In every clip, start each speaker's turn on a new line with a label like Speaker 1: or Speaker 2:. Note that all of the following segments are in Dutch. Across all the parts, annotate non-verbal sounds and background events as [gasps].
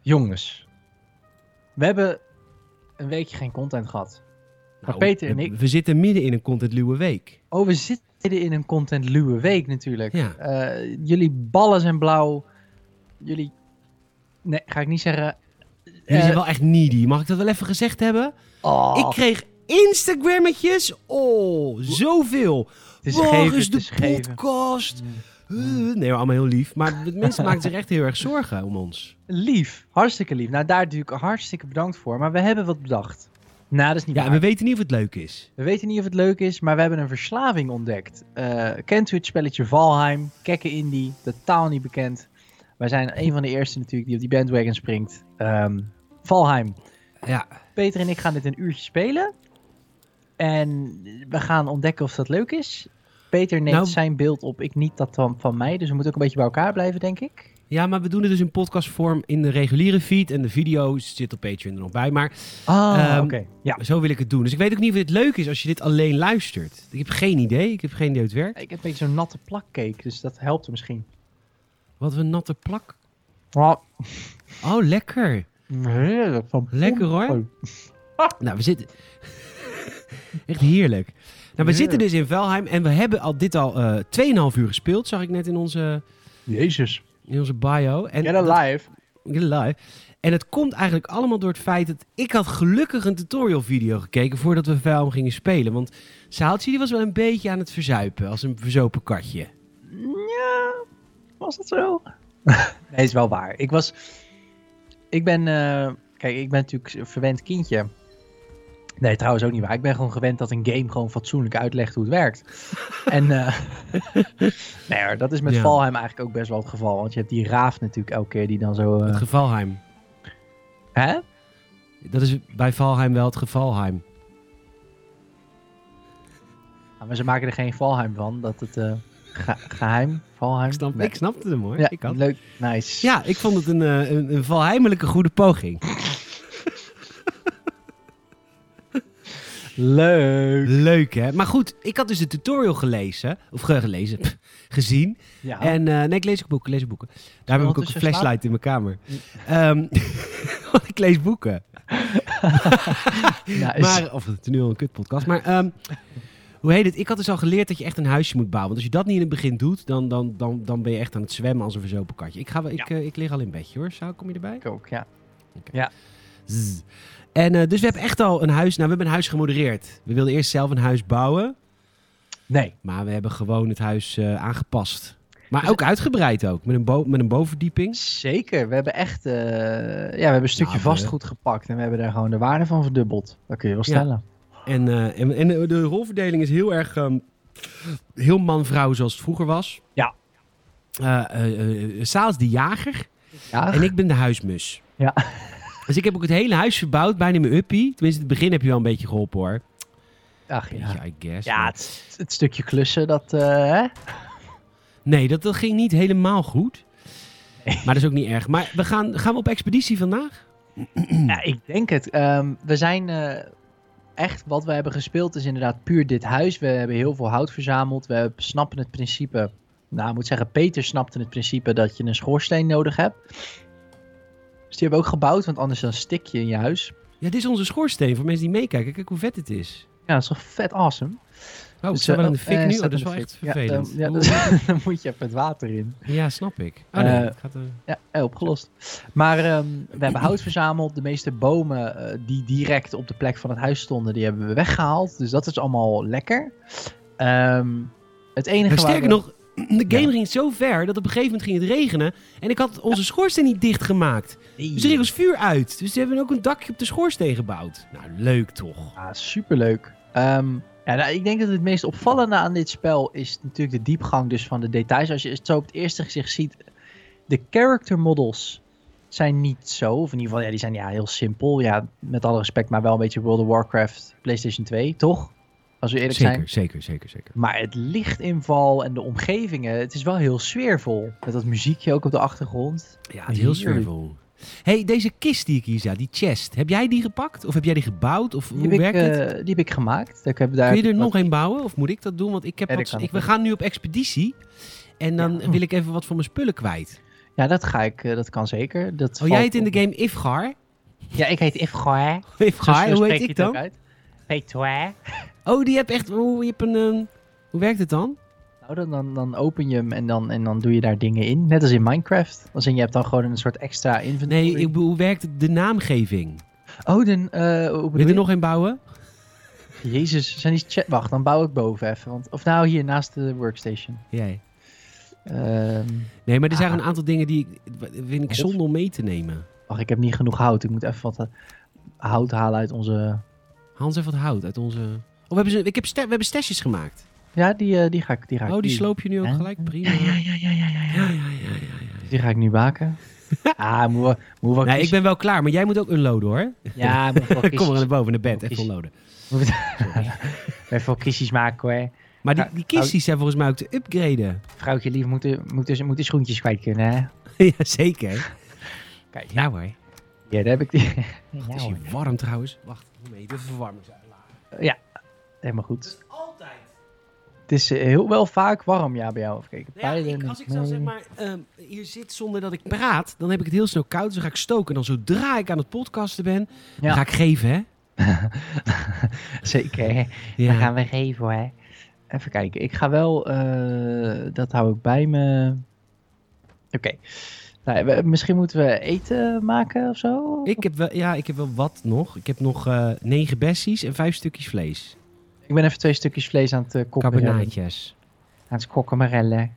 Speaker 1: Jongens, we hebben een weekje geen content gehad. Maar
Speaker 2: Nou,
Speaker 1: Peter en
Speaker 2: we-
Speaker 1: ik-
Speaker 2: We zitten midden in een contentluwe week.
Speaker 1: Oh, we zitten in een contentluwe week natuurlijk.
Speaker 2: Ja.
Speaker 1: Eh, jullie ballen zijn blauw. Jullie. Nee, ga ik niet zeggen.
Speaker 2: Jullie
Speaker 1: Eh,
Speaker 2: zijn wel echt needy. Mag ik dat wel even gezegd hebben?
Speaker 1: oh,
Speaker 2: Ik kreeg Instagrammetjes. Oh, zoveel.
Speaker 1: het is
Speaker 2: Morgen
Speaker 1: geven,
Speaker 2: is
Speaker 1: het
Speaker 2: de
Speaker 1: is geven.
Speaker 2: podcast.
Speaker 1: Mm.
Speaker 2: Uh, Nee, allemaal heel lief. Maar de
Speaker 1: [laughs]
Speaker 2: mensen maken zich echt heel erg zorgen om ons.
Speaker 1: Lief, hartstikke lief. Nou, daar natuurlijk hartstikke bedankt voor. Maar we hebben wat bedacht. Nou, dat is niet
Speaker 2: Ja,
Speaker 1: waar.
Speaker 2: en we weten niet of het leuk is.
Speaker 1: We weten niet of het leuk is, maar we hebben een verslaving ontdekt. Eh, kent u het spelletje Valheim? Kekken Indie, totaal niet bekend. Wij zijn een van de eerste natuurlijk die op die bandwagon springt. Ehm, Valheim.
Speaker 2: Ja,
Speaker 1: Peter en ik gaan dit een uurtje spelen. En we gaan ontdekken of dat leuk is. Peter neemt
Speaker 2: Nou-
Speaker 1: zijn beeld op, ik niet dat van, van mij. Dus we moeten ook een beetje bij elkaar blijven, denk ik.
Speaker 2: ja maar we doen het dus in podcastvorm in de reguliere feed. En de video zit op Patreon er nog bij. Maar
Speaker 1: Ah,
Speaker 2: Ehm,
Speaker 1: oké. Ja,
Speaker 2: zo wil ik het doen. Dus ik weet ook niet of het leuk is als je dit alleen luistert. Ik heb geen idee. Ik heb geen idee hoe het werkt.
Speaker 1: ik heb een beetje zo'n natte plakcake, dus dat helpt misschien.
Speaker 2: Wat een natte plak.
Speaker 1: Oh,
Speaker 2: Oh, lekker.
Speaker 1: heerlijk. Van
Speaker 2: Lekker
Speaker 1: Oh,
Speaker 2: hoor. Nou, we zitten. [laughs] Echt heerlijk. Nou, we
Speaker 1: Heerlijk.
Speaker 2: zitten dus in Velheim en we hebben al dit al eh 2,5 uur gespeeld, zag ik net in onze,
Speaker 1: Jezus.
Speaker 2: in onze bio. En
Speaker 1: Get alive.
Speaker 2: Get alive. En het komt eigenlijk allemaal door het feit dat ik had gelukkig een tutorial video gekeken voordat we Velheim gingen spelen. Want Saaltje die was wel een beetje aan het verzuipen, als een verzopen katje.
Speaker 1: Ja, was dat zo? [laughs] nee, is wel waar. Ik was. Ik ben. eh, kijk, ik ben natuurlijk een verwend kindje. Nee, trouwens ook niet waar. Ik ben gewoon gewend dat een game gewoon fatsoenlijk uitlegt hoe het werkt.
Speaker 2: [laughs]
Speaker 1: en. eh, [laughs] nee hoor, dat is met
Speaker 2: Ja.
Speaker 1: Valheim eigenlijk ook best wel het geval. Want je hebt die raaf natuurlijk elke keer die dan zo. eh,
Speaker 2: Het gevalheim.
Speaker 1: hè?
Speaker 2: Dat is bij Valheim wel het gevalheim.
Speaker 1: Ah, Maar ze maken er geen Valheim van. Dat het. eh, ge- geheim? Valheim?
Speaker 2: Ik, snap,
Speaker 1: Nee.
Speaker 2: ik snapte hem hoor.
Speaker 1: Ja,
Speaker 2: ik had.
Speaker 1: leuk. Nice.
Speaker 2: Ja, ik vond het een, eh, een, een valheimelijke goede poging.
Speaker 1: Leuk.
Speaker 2: Leuk hè? Maar goed, ik had dus de tutorial gelezen, of ge- gelezen, [laughs] pff, gezien.
Speaker 1: Ja.
Speaker 2: En eh, nee, ik lees ook boeken, ik lees ook boeken. Daarom heb ik ook een
Speaker 1: ondertussen slapen?
Speaker 2: flashlight in mijn kamer. Ehm, [laughs] want ik lees boeken.
Speaker 1: nice.
Speaker 2: Maar, of het is nu al een kutpodcast. Maar ehm, hoe heet het? Ik had dus al geleerd dat je echt een huisje moet bouwen. Want als je dat niet in het begin doet, dan, dan, dan, dan ben je echt aan het zwemmen als een verzopen katje. Ik, ga, wel- ik, eh, ik lig al in bedje hoor. Zou kom je erbij?
Speaker 1: Ik ook, ja.
Speaker 2: Zzz. En eh, dus we hebben echt al een huis. Nou, we hebben een huis gemodereerd. We wilden eerst zelf een huis bouwen.
Speaker 1: Nee.
Speaker 2: Maar we hebben gewoon het huis eh, aangepast. Maar ook uitgebreid ook, met een, bo- met een bovenverdieping.
Speaker 1: Zeker, we hebben echt eh, ja, we hebben een stukje
Speaker 2: Nou, we-
Speaker 1: vastgoed gepakt en we hebben daar gewoon de waarde van verdubbeld. Dat kun je wel
Speaker 2: Ja.
Speaker 1: stellen.
Speaker 2: En, eh, en, en de rolverdeling is heel erg ehm, heel man-vrouw zoals het vroeger was.
Speaker 1: Ja.
Speaker 2: Eh, eh, eh, Saal is de jager
Speaker 1: Ja,
Speaker 2: en ik ben de huismus.
Speaker 1: Ja.
Speaker 2: Dus ik heb ook het hele huis verbouwd, bijna in mijn uppie. Tenminste, in het begin heb je wel een beetje geholpen hoor.
Speaker 1: Ach,
Speaker 2: Beetje,
Speaker 1: ja.
Speaker 2: I guess.
Speaker 1: ja
Speaker 2: maar-
Speaker 1: het, het stukje klussen, dat... eh, hè?
Speaker 2: Nee, dat, dat ging niet helemaal goed. Maar dat is ook niet erg. Maar we gaan, gaan we op expeditie vandaag? Mm.
Speaker 1: ja, ik denk het. Ehm, we zijn eh, echt, wat we hebben gespeeld is inderdaad puur dit huis. We hebben heel veel hout verzameld. We hebben- snappen het principe, nou ik moet zeggen, Peter snapte het principe dat je een schoorsteen nodig hebt. Dus die hebben we ook gebouwd, want anders dan stik je in je huis.
Speaker 2: Ja, dit is onze schoorsteen voor mensen die meekijken. Kijk hoe vet het is.
Speaker 1: Ja, dat is toch vet awesome.
Speaker 2: Oh,
Speaker 1: Dus,
Speaker 2: het staat wel
Speaker 1: eh,
Speaker 2: in de fik ehm,
Speaker 1: eh,
Speaker 2: nu. Oh,
Speaker 1: staat in
Speaker 2: dat is
Speaker 1: de
Speaker 2: wel echt
Speaker 1: fik. Ja,
Speaker 2: vervelend.
Speaker 1: dan-
Speaker 2: Oeh.
Speaker 1: Ja, dan [laughs] moet je even het water in.
Speaker 2: Ja, snap ik. Oh nee,
Speaker 1: Eh,
Speaker 2: het gaat, dus- eh,
Speaker 1: Ja, eh, opgelost. Maar ehm, we hebben hout verzameld. De meeste bomen eh, die direct op de plek van het huis stonden, die hebben we weggehaald. Dus dat is allemaal lekker. Ehm, het enige
Speaker 2: Maar
Speaker 1: waar
Speaker 2: sterker
Speaker 1: we-
Speaker 2: nog, de game
Speaker 1: Ja.
Speaker 2: ging zo ver dat op een gegeven moment ging het regenen. En ik had onze schoorsteen niet dichtgemaakt.
Speaker 1: Nee.
Speaker 2: Dus er ging ons vuur uit. Dus ze hebben ook een dakje op de schoorsteen gebouwd. Nou, leuk toch?
Speaker 1: Ja, superleuk. Ehm, ja, nou, ik denk dat het meest opvallende aan dit spel is natuurlijk de diepgang dus van de details. Als je het zo op het eerste gezicht ziet, de character models zijn niet zo. Of in ieder geval, ja, die zijn ja, heel simpel. Ja, met alle respect, maar wel een beetje World of Warcraft, PlayStation 2, toch? Als we eerlijk zijn.
Speaker 2: Zeker, zeker, zeker, zeker.
Speaker 1: Maar het lichtinval en de omgevingen, het is wel heel sfeervol. Met dat muziekje ook op de achtergrond.
Speaker 2: Ja, het is heel
Speaker 1: Heerlijk.
Speaker 2: sfeervol. hey, deze kist die ik hier zag, die chest. Heb jij die gepakt? Of heb jij die gebouwd? Of hoe
Speaker 1: Die heb, ik,
Speaker 2: werkt het?
Speaker 1: eh, die heb ik gemaakt. Ik heb daar
Speaker 2: Kun je er
Speaker 1: wat-
Speaker 2: nog een bouwen? Of moet ik dat doen? Want ik heb
Speaker 1: Ja, dat
Speaker 2: wat,
Speaker 1: kan
Speaker 2: ik,
Speaker 1: ik
Speaker 2: we
Speaker 1: wel.
Speaker 2: gaan nu op expeditie. En dan
Speaker 1: Ja.
Speaker 2: wil ik even wat van mijn spullen kwijt.
Speaker 1: Ja, dat ga ik, eh, dat kan zeker. Dat
Speaker 2: Oh,
Speaker 1: valt
Speaker 2: jij heet in
Speaker 1: op-
Speaker 2: de game Ifgar?
Speaker 1: Ja, ik heet Ifgar.
Speaker 2: Ifgar, hoe heet ik dan?
Speaker 1: Peter.
Speaker 2: Oh, die heb echt. Oh, je hebt een. ehm, hoe werkt het dan?
Speaker 1: Nou, dan, dan, dan open je hem en dan, en dan doe je daar dingen in. Net als in Minecraft. Als in, je hebt dan gewoon een soort extra inventory.
Speaker 2: Nee, ik bedoel, hoe werkt de naamgeving?
Speaker 1: Oh, dan... eh hoe
Speaker 2: Wil
Speaker 1: bedoel
Speaker 2: je
Speaker 1: je?
Speaker 2: er nog een bouwen?
Speaker 1: Jezus, zijn die chat... Wacht, dan bouw ik boven even. Want... Of nou, hier naast de workstation.
Speaker 2: Jij.
Speaker 1: Ehm,
Speaker 2: Nee, maar er zijn
Speaker 1: Ah.
Speaker 2: een aantal dingen die ik, vind ik zonde om mee te nemen.
Speaker 1: wacht, ik heb niet genoeg hout. Ik moet even wat eh, hout halen uit onze...
Speaker 2: Hans even wat hout uit onze. Oh, we hebben, ze, ik heb ste- we hebben stesjes gemaakt.
Speaker 1: Ja, die, eh, die ga ik... Die ga ik
Speaker 2: Oh, die
Speaker 1: nu-
Speaker 2: sloop je nu ook
Speaker 1: Ja.
Speaker 2: gelijk. Prima.
Speaker 1: Ja, ja, ja, ja, ja, ja.
Speaker 2: Ja, ja, ja, ja.
Speaker 1: Die ga ik nu maken. ah, moet wel, moet wel
Speaker 2: Nee, ik
Speaker 1: kiezen.
Speaker 2: ben wel klaar, maar jij moet ook unloaden hoor.
Speaker 1: Ja, moet wel
Speaker 2: [laughs] Kom maar naar
Speaker 1: kistjes,
Speaker 2: boven naar bed, even
Speaker 1: Kistjes.
Speaker 2: unloaden.
Speaker 1: even wel kistjes maken hoor.
Speaker 2: Maar die,
Speaker 1: Ja, nou-
Speaker 2: die kisties zijn volgens mij ook te upgraden. [laughs]
Speaker 1: Vrouwtje lief moeten moeten moeten schoentjes kwijt kunnen hè.
Speaker 2: Jazeker.
Speaker 1: Kijk. nou-
Speaker 2: Ja hoor.
Speaker 1: Ja, daar heb ik die.
Speaker 2: Het
Speaker 1: Ja,
Speaker 2: is
Speaker 1: hoor.
Speaker 2: hier warm trouwens. Wacht, nee, de verwarming is uitlaten.
Speaker 1: Helemaal goed.
Speaker 2: is altijd.
Speaker 1: Het is eh, heel wel vaak warm, ja, bij jou. Even kijken.
Speaker 2: Nou ja, ik-
Speaker 1: Pijlen,
Speaker 2: als ik dan
Speaker 1: nee.
Speaker 2: zeg maar ehm, hier zit zonder dat ik praat, dan heb ik het heel snel koud. Dus dan ga ik stoken. En dan zodra ik aan het podcasten ben, dan
Speaker 1: Ja.
Speaker 2: ga ik geven, hè?
Speaker 1: Zeker.
Speaker 2: Ja.
Speaker 1: Dat gaan we geven hoor. hè. Even kijken. Ik ga wel. eh, dat hou ik bij me. Oké. Nou, we- misschien moeten we eten maken of zo?
Speaker 2: Ik heb wel, ja, ik heb wel wat nog. Ik heb nog eh, negen bessies en vijf stukjes vlees.
Speaker 1: Ik ben even twee stukjes vlees aan het eh, kokkerellen.
Speaker 2: Carbonaatjes.
Speaker 1: Aan het kokkemarellen.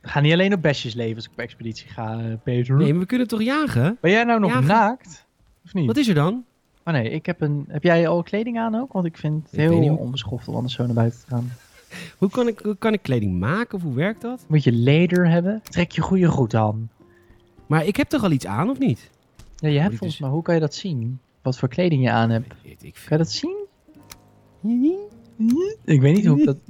Speaker 1: We gaan niet alleen op besjes leven als ik op expeditie ga, eh, Peter.
Speaker 2: Nee, maar we kunnen toch jagen?
Speaker 1: Ben jij nou nog
Speaker 2: Ja, ga-
Speaker 1: naakt? Of niet?
Speaker 2: Wat is er dan?
Speaker 1: Oh nee, ik heb een. Heb jij al kleding aan ook? Want ik vind het
Speaker 2: Ik weet niet.
Speaker 1: heel onbeschoft om anders zo naar buiten te gaan.
Speaker 2: Hoe kan ik, hoe kan ik kleding maken of hoe werkt dat?
Speaker 1: Moet je leder hebben? Trek je goede goed aan.
Speaker 2: Maar ik heb toch al iets aan, of niet?
Speaker 1: Ja, je
Speaker 2: Moet
Speaker 1: hebt
Speaker 2: je
Speaker 1: volgens
Speaker 2: dus-
Speaker 1: mij. Hoe kan je dat zien? Wat voor kleding je aan hebt?
Speaker 2: Weet ik
Speaker 1: Kan
Speaker 2: veel.
Speaker 1: je dat zien? Ik weet niet hoe ik dat. [laughs]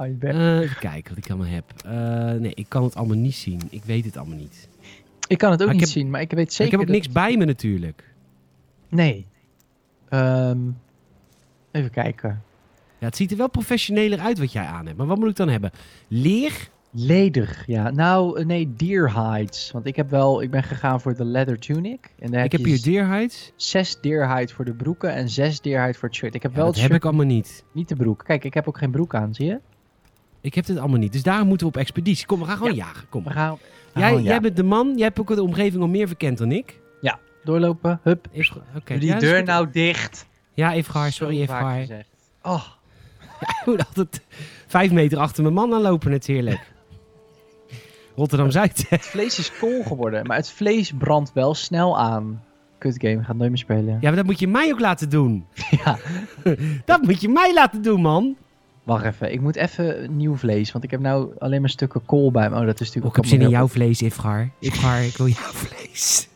Speaker 1: Ah, je bent-
Speaker 2: Eh, even kijken wat ik allemaal heb. Eh, nee, ik kan het allemaal niet zien. Ik weet het allemaal niet.
Speaker 1: Ik kan het ook
Speaker 2: maar ik
Speaker 1: niet
Speaker 2: heb-
Speaker 1: zien, maar ik weet zeker.
Speaker 2: ik heb ook
Speaker 1: dat-
Speaker 2: niks bij me natuurlijk.
Speaker 1: Nee. Ehm, even kijken.
Speaker 2: Ja, het ziet er wel professioneler uit wat jij aan hebt. Maar wat moet ik dan hebben? Leer?
Speaker 1: Leder, ja. Nou, eh, nee, deer hides. Want ik heb wel. Ik ben gegaan voor de leather tunic. En daar
Speaker 2: ik heb
Speaker 1: je
Speaker 2: hier deer hides.
Speaker 1: zes deer hide voor de broeken en zes deer hide voor het shirt. Ik heb
Speaker 2: Ja,
Speaker 1: wel
Speaker 2: dat
Speaker 1: het shirt,
Speaker 2: heb ik allemaal niet.
Speaker 1: niet de broek. Kijk, ik heb ook geen broek aan, zie je?
Speaker 2: Ik heb dit allemaal niet. Dus daarom moeten we op expeditie. Kom, we gaan gewoon jagen. Kom.
Speaker 1: We gaan
Speaker 2: Jij,
Speaker 1: Oh, ja.
Speaker 2: jij bent de man. Jij hebt ook de omgeving al meer verkend dan ik.
Speaker 1: doorlopen. Hup.
Speaker 2: Even-
Speaker 1: Doe
Speaker 2: Oké. ja,
Speaker 1: die
Speaker 2: dat is
Speaker 1: deur
Speaker 2: goed.
Speaker 1: nou dicht.
Speaker 2: Ja, Ifgar. Sorry,
Speaker 1: Zo vaak
Speaker 2: Ifgar. [laughs] Ik
Speaker 1: gezegd. Oh,
Speaker 2: moet altijd vijf meter achter mijn man aanlopen. Het is
Speaker 1: [laughs]
Speaker 2: heerlijk. Rotterdam-Zuid.
Speaker 1: het vlees is kool geworden, maar het vlees brandt wel snel aan. Kut game, gaat nooit meer spelen.
Speaker 2: Ja, maar dat moet je mij ook laten doen.
Speaker 1: [laughs] Ja.
Speaker 2: [laughs] dat moet je mij laten doen, man.
Speaker 1: Wacht even, ik moet even nieuw vlees, want ik heb nou alleen maar stukken kool bij me. Oh, dat is natuurlijk
Speaker 2: ik heb zin in
Speaker 1: allemaal
Speaker 2: jouw vlees, Ifgar. Ifgar, ik wil jouw vlees.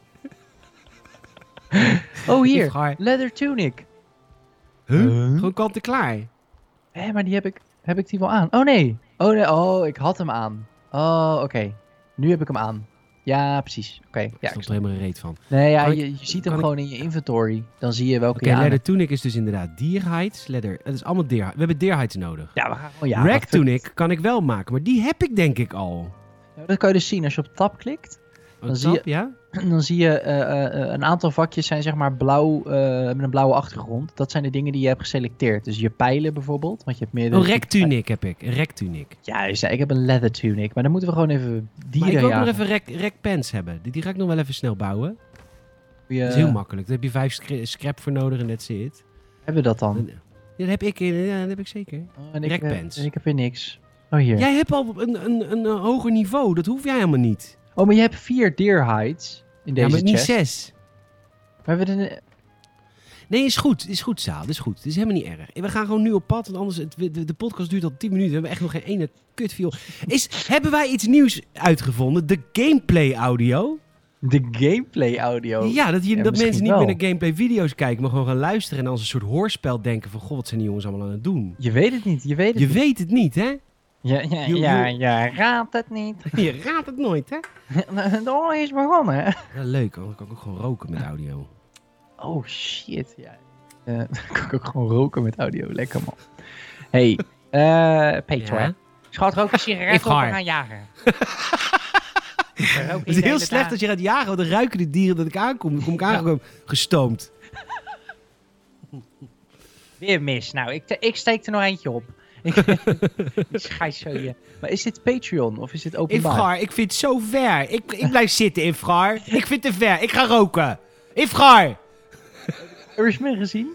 Speaker 1: heel- Oh, hier,
Speaker 2: Ifgar.
Speaker 1: leather tunic.
Speaker 2: Huh?
Speaker 1: Huh?
Speaker 2: Gewoon kant en klaar.
Speaker 1: Hé, maar die heb ik, heb ik die wel aan? Oh, nee. Oh, nee, oh, ik had hem aan. Oh, oké. Nu heb ik hem aan. Ja, precies. Oké,
Speaker 2: Ja,
Speaker 1: ja.
Speaker 2: ik
Speaker 1: ik
Speaker 2: stond er helemaal een reet van.
Speaker 1: snap- Nee, ja,
Speaker 2: Kan ik-
Speaker 1: je, je ziet hem
Speaker 2: kan ik-
Speaker 1: gewoon in je inventory. Dan zie je welke
Speaker 2: Oké,
Speaker 1: je aan
Speaker 2: leather
Speaker 1: hebt.
Speaker 2: tunic is dus inderdaad dierhides. Leather, het is allemaal deer. We hebben dierhides nodig.
Speaker 1: Ja, we gaan gewoon...
Speaker 2: Ja,
Speaker 1: Ja,
Speaker 2: Rack
Speaker 1: wat-
Speaker 2: tunic kan ik wel maken, maar die heb ik denk ik al. Oh,
Speaker 1: Ja, Dat kan je dus zien als je op tab klikt. [clears throat]
Speaker 2: Een
Speaker 1: Dan zie je-
Speaker 2: tap, ja?
Speaker 1: dan zie je eh, eh, eh, een aantal vakjes zijn zeg maar blauw, eh, met een blauwe achtergrond. Dat zijn de dingen die je hebt geselecteerd. Dus je pijlen bijvoorbeeld, want je hebt meerdere...
Speaker 2: Een rack Oh, tunic heb ik. Een rack tunic.
Speaker 1: Juist, ja, ik heb een leather tunic, maar dan moeten we gewoon even
Speaker 2: Maar ik
Speaker 1: dieren
Speaker 2: wil ook
Speaker 1: jagen.
Speaker 2: nog even rack, rack pants hebben. Die, die ga ik nog wel even snel bouwen.
Speaker 1: Goeie-
Speaker 2: Dat is heel makkelijk. Daar heb je vijf scra- scrap voor nodig en that's it.
Speaker 1: Hebben we dat dan?
Speaker 2: Dan- Ja, dat heb ik, eh, ja, dat heb ik zeker.
Speaker 1: Oh, en ik,
Speaker 2: Rack
Speaker 1: eh,
Speaker 2: pants.
Speaker 1: en ik heb weer niks. Oh, hier.
Speaker 2: Jij hebt al een, een, een, eh, hoger niveau. Dat hoef jij helemaal niet.
Speaker 1: Oh, maar je hebt vier deer hides in
Speaker 2: ja,
Speaker 1: deze
Speaker 2: maar niet
Speaker 1: chest.
Speaker 2: zes.
Speaker 1: Maar we hebben een- eh,
Speaker 2: Nee, is goed. Is goed, Saal. Is goed. Het is helemaal niet erg. We gaan gewoon nu op pad, want anders... Het, de, de podcast duurt al 10 minuten. We hebben echt nog geen ene kutviool. Is, hebben wij iets nieuws uitgevonden? De gameplay audio?
Speaker 1: de gameplay audio.
Speaker 2: ja, dat, je,
Speaker 1: Oh. ja, misschien
Speaker 2: dat mensen niet
Speaker 1: wel.
Speaker 2: meer naar gameplay video's kijken, maar gewoon gaan luisteren en als een soort hoorspel denken van... God, wat zijn die jongens allemaal aan het doen?
Speaker 1: Je weet het niet, je weet het
Speaker 2: Je
Speaker 1: niet.
Speaker 2: weet het niet, hè? [laughs]
Speaker 1: Ja, ja,
Speaker 2: Je-
Speaker 1: ja,
Speaker 2: je-
Speaker 1: ja, raadt het niet. [laughs]
Speaker 2: Je raadt het nooit, hè?
Speaker 1: De oorlog is begonnen.
Speaker 2: Ja, leuk. hoor. Dan kan ik ook gewoon roken met audio.
Speaker 1: Oh shit, ja. Eh, [laughs] dan kan ik ook gewoon roken met audio. Lekker man. Hey, eh Peter.
Speaker 2: Ja?
Speaker 1: Schat, rook een sigaret
Speaker 2: If
Speaker 1: op en
Speaker 2: hard.
Speaker 1: gaan jagen. Maar ook
Speaker 2: Het is heel slecht als je gaat jagen, want dan ruiken de dieren dat ik aankom. Dan kom ik aangekomen, gestoomd.
Speaker 1: Weer mis. Nou, ik, ik steek er nog eentje op.
Speaker 2: [laughs]
Speaker 1: ik schijt zo je. Maar is dit Patreon of is dit openbaar?
Speaker 2: Ifgar, ik vind het zo ver. Ik, ik blijf zitten, Ifgar. Ik vind het te ver. Ik ga roken. Ifgar!
Speaker 1: Irishman gezien?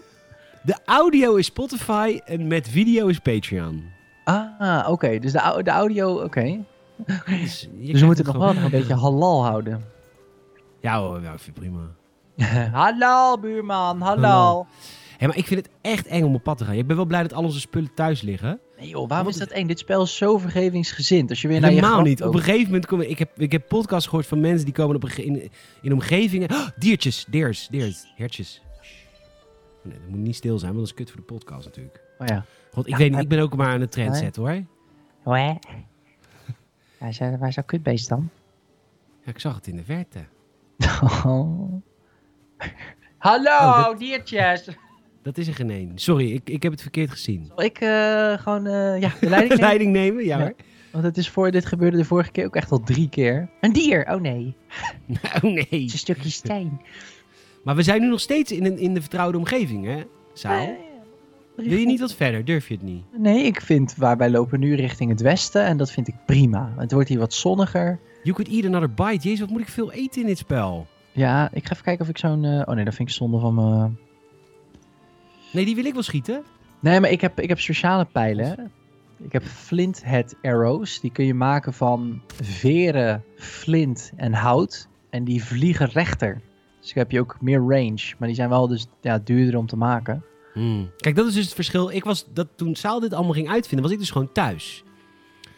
Speaker 2: De audio is Spotify en met video is Patreon.
Speaker 1: Ah, oké. Dus de, au- de audio, oké.
Speaker 2: Dus, je
Speaker 1: Dus
Speaker 2: krijgt
Speaker 1: we moeten nog wel
Speaker 2: gewoon.
Speaker 1: nog een beetje halal houden. [laughs]
Speaker 2: Ja hoor, nou, ik vind het prima.
Speaker 1: halal, buurman, halal.
Speaker 2: Halal. Hé, maar ik vind het echt eng om op pad te gaan. Ik ben wel blij dat al onze spullen thuis liggen.
Speaker 1: Nee joh, waarom
Speaker 2: Wat
Speaker 1: is
Speaker 2: is-
Speaker 1: dat eng? Dit spel is zo vergevingsgezind. Als je weer naar je
Speaker 2: Helemaal
Speaker 1: graf
Speaker 2: niet. Op een
Speaker 1: loopt.
Speaker 2: gegeven moment komen... Ik heb, ik heb podcasts gehoord van mensen die komen op een, ge- in, in omgevingen... Oh, diertjes, deers, deers, hertjes. Nee, dat moet niet stil zijn, want dat is kut voor de podcast natuurlijk.
Speaker 1: Oh ja. [laughs]
Speaker 2: God, ik
Speaker 1: Ja,
Speaker 2: weet niet,
Speaker 1: maar-
Speaker 2: ik ben ook maar aan het trend zetten hoor.
Speaker 1: Hé? Waar is, waar is dat kutbeest dan?
Speaker 2: Ja, ik zag het in de verte.
Speaker 1: Hallo,
Speaker 2: Oh, dat-
Speaker 1: diertjes.
Speaker 2: Dat is er geen één. Sorry, ik, ik heb het verkeerd gezien.
Speaker 1: Zal ik eh, gewoon eh, ja,
Speaker 2: [laughs]
Speaker 1: de leiding nemen?
Speaker 2: Leiding nemen, ja
Speaker 1: Ja.
Speaker 2: hoor. [laughs]
Speaker 1: Want het is voor, dit gebeurde de vorige keer ook echt al drie keer. Een dier, oh nee. Het
Speaker 2: Oh nee.
Speaker 1: is een stukje steen.
Speaker 2: Maar we zijn nu nog steeds in, een, in de vertrouwde omgeving, hè? Saal. Wil je niet wat verder? Durf je het niet?
Speaker 1: Nee, ik vind waar wij lopen nu richting het westen en dat vind ik prima. Het wordt hier wat zonniger.
Speaker 2: You could eat another bite. Jezus, wat moet ik veel eten in dit spel?
Speaker 1: Ja, ik ga even kijken of ik zo'n... eh, oh nee, dat vind ik zonde van mijn...
Speaker 2: Nee, die wil ik wel schieten.
Speaker 1: Nee, maar ik heb, ik heb speciale pijlen. Ik heb flint head arrows. Die kun je maken van veren, flint en hout. En die vliegen rechter. Dus dan heb je ook meer range. Maar die zijn wel dus ja, duurder om te maken.
Speaker 2: Kijk, dat is dus het verschil. Ik was, dat, toen Saal dit allemaal ging uitvinden, was ik dus gewoon thuis.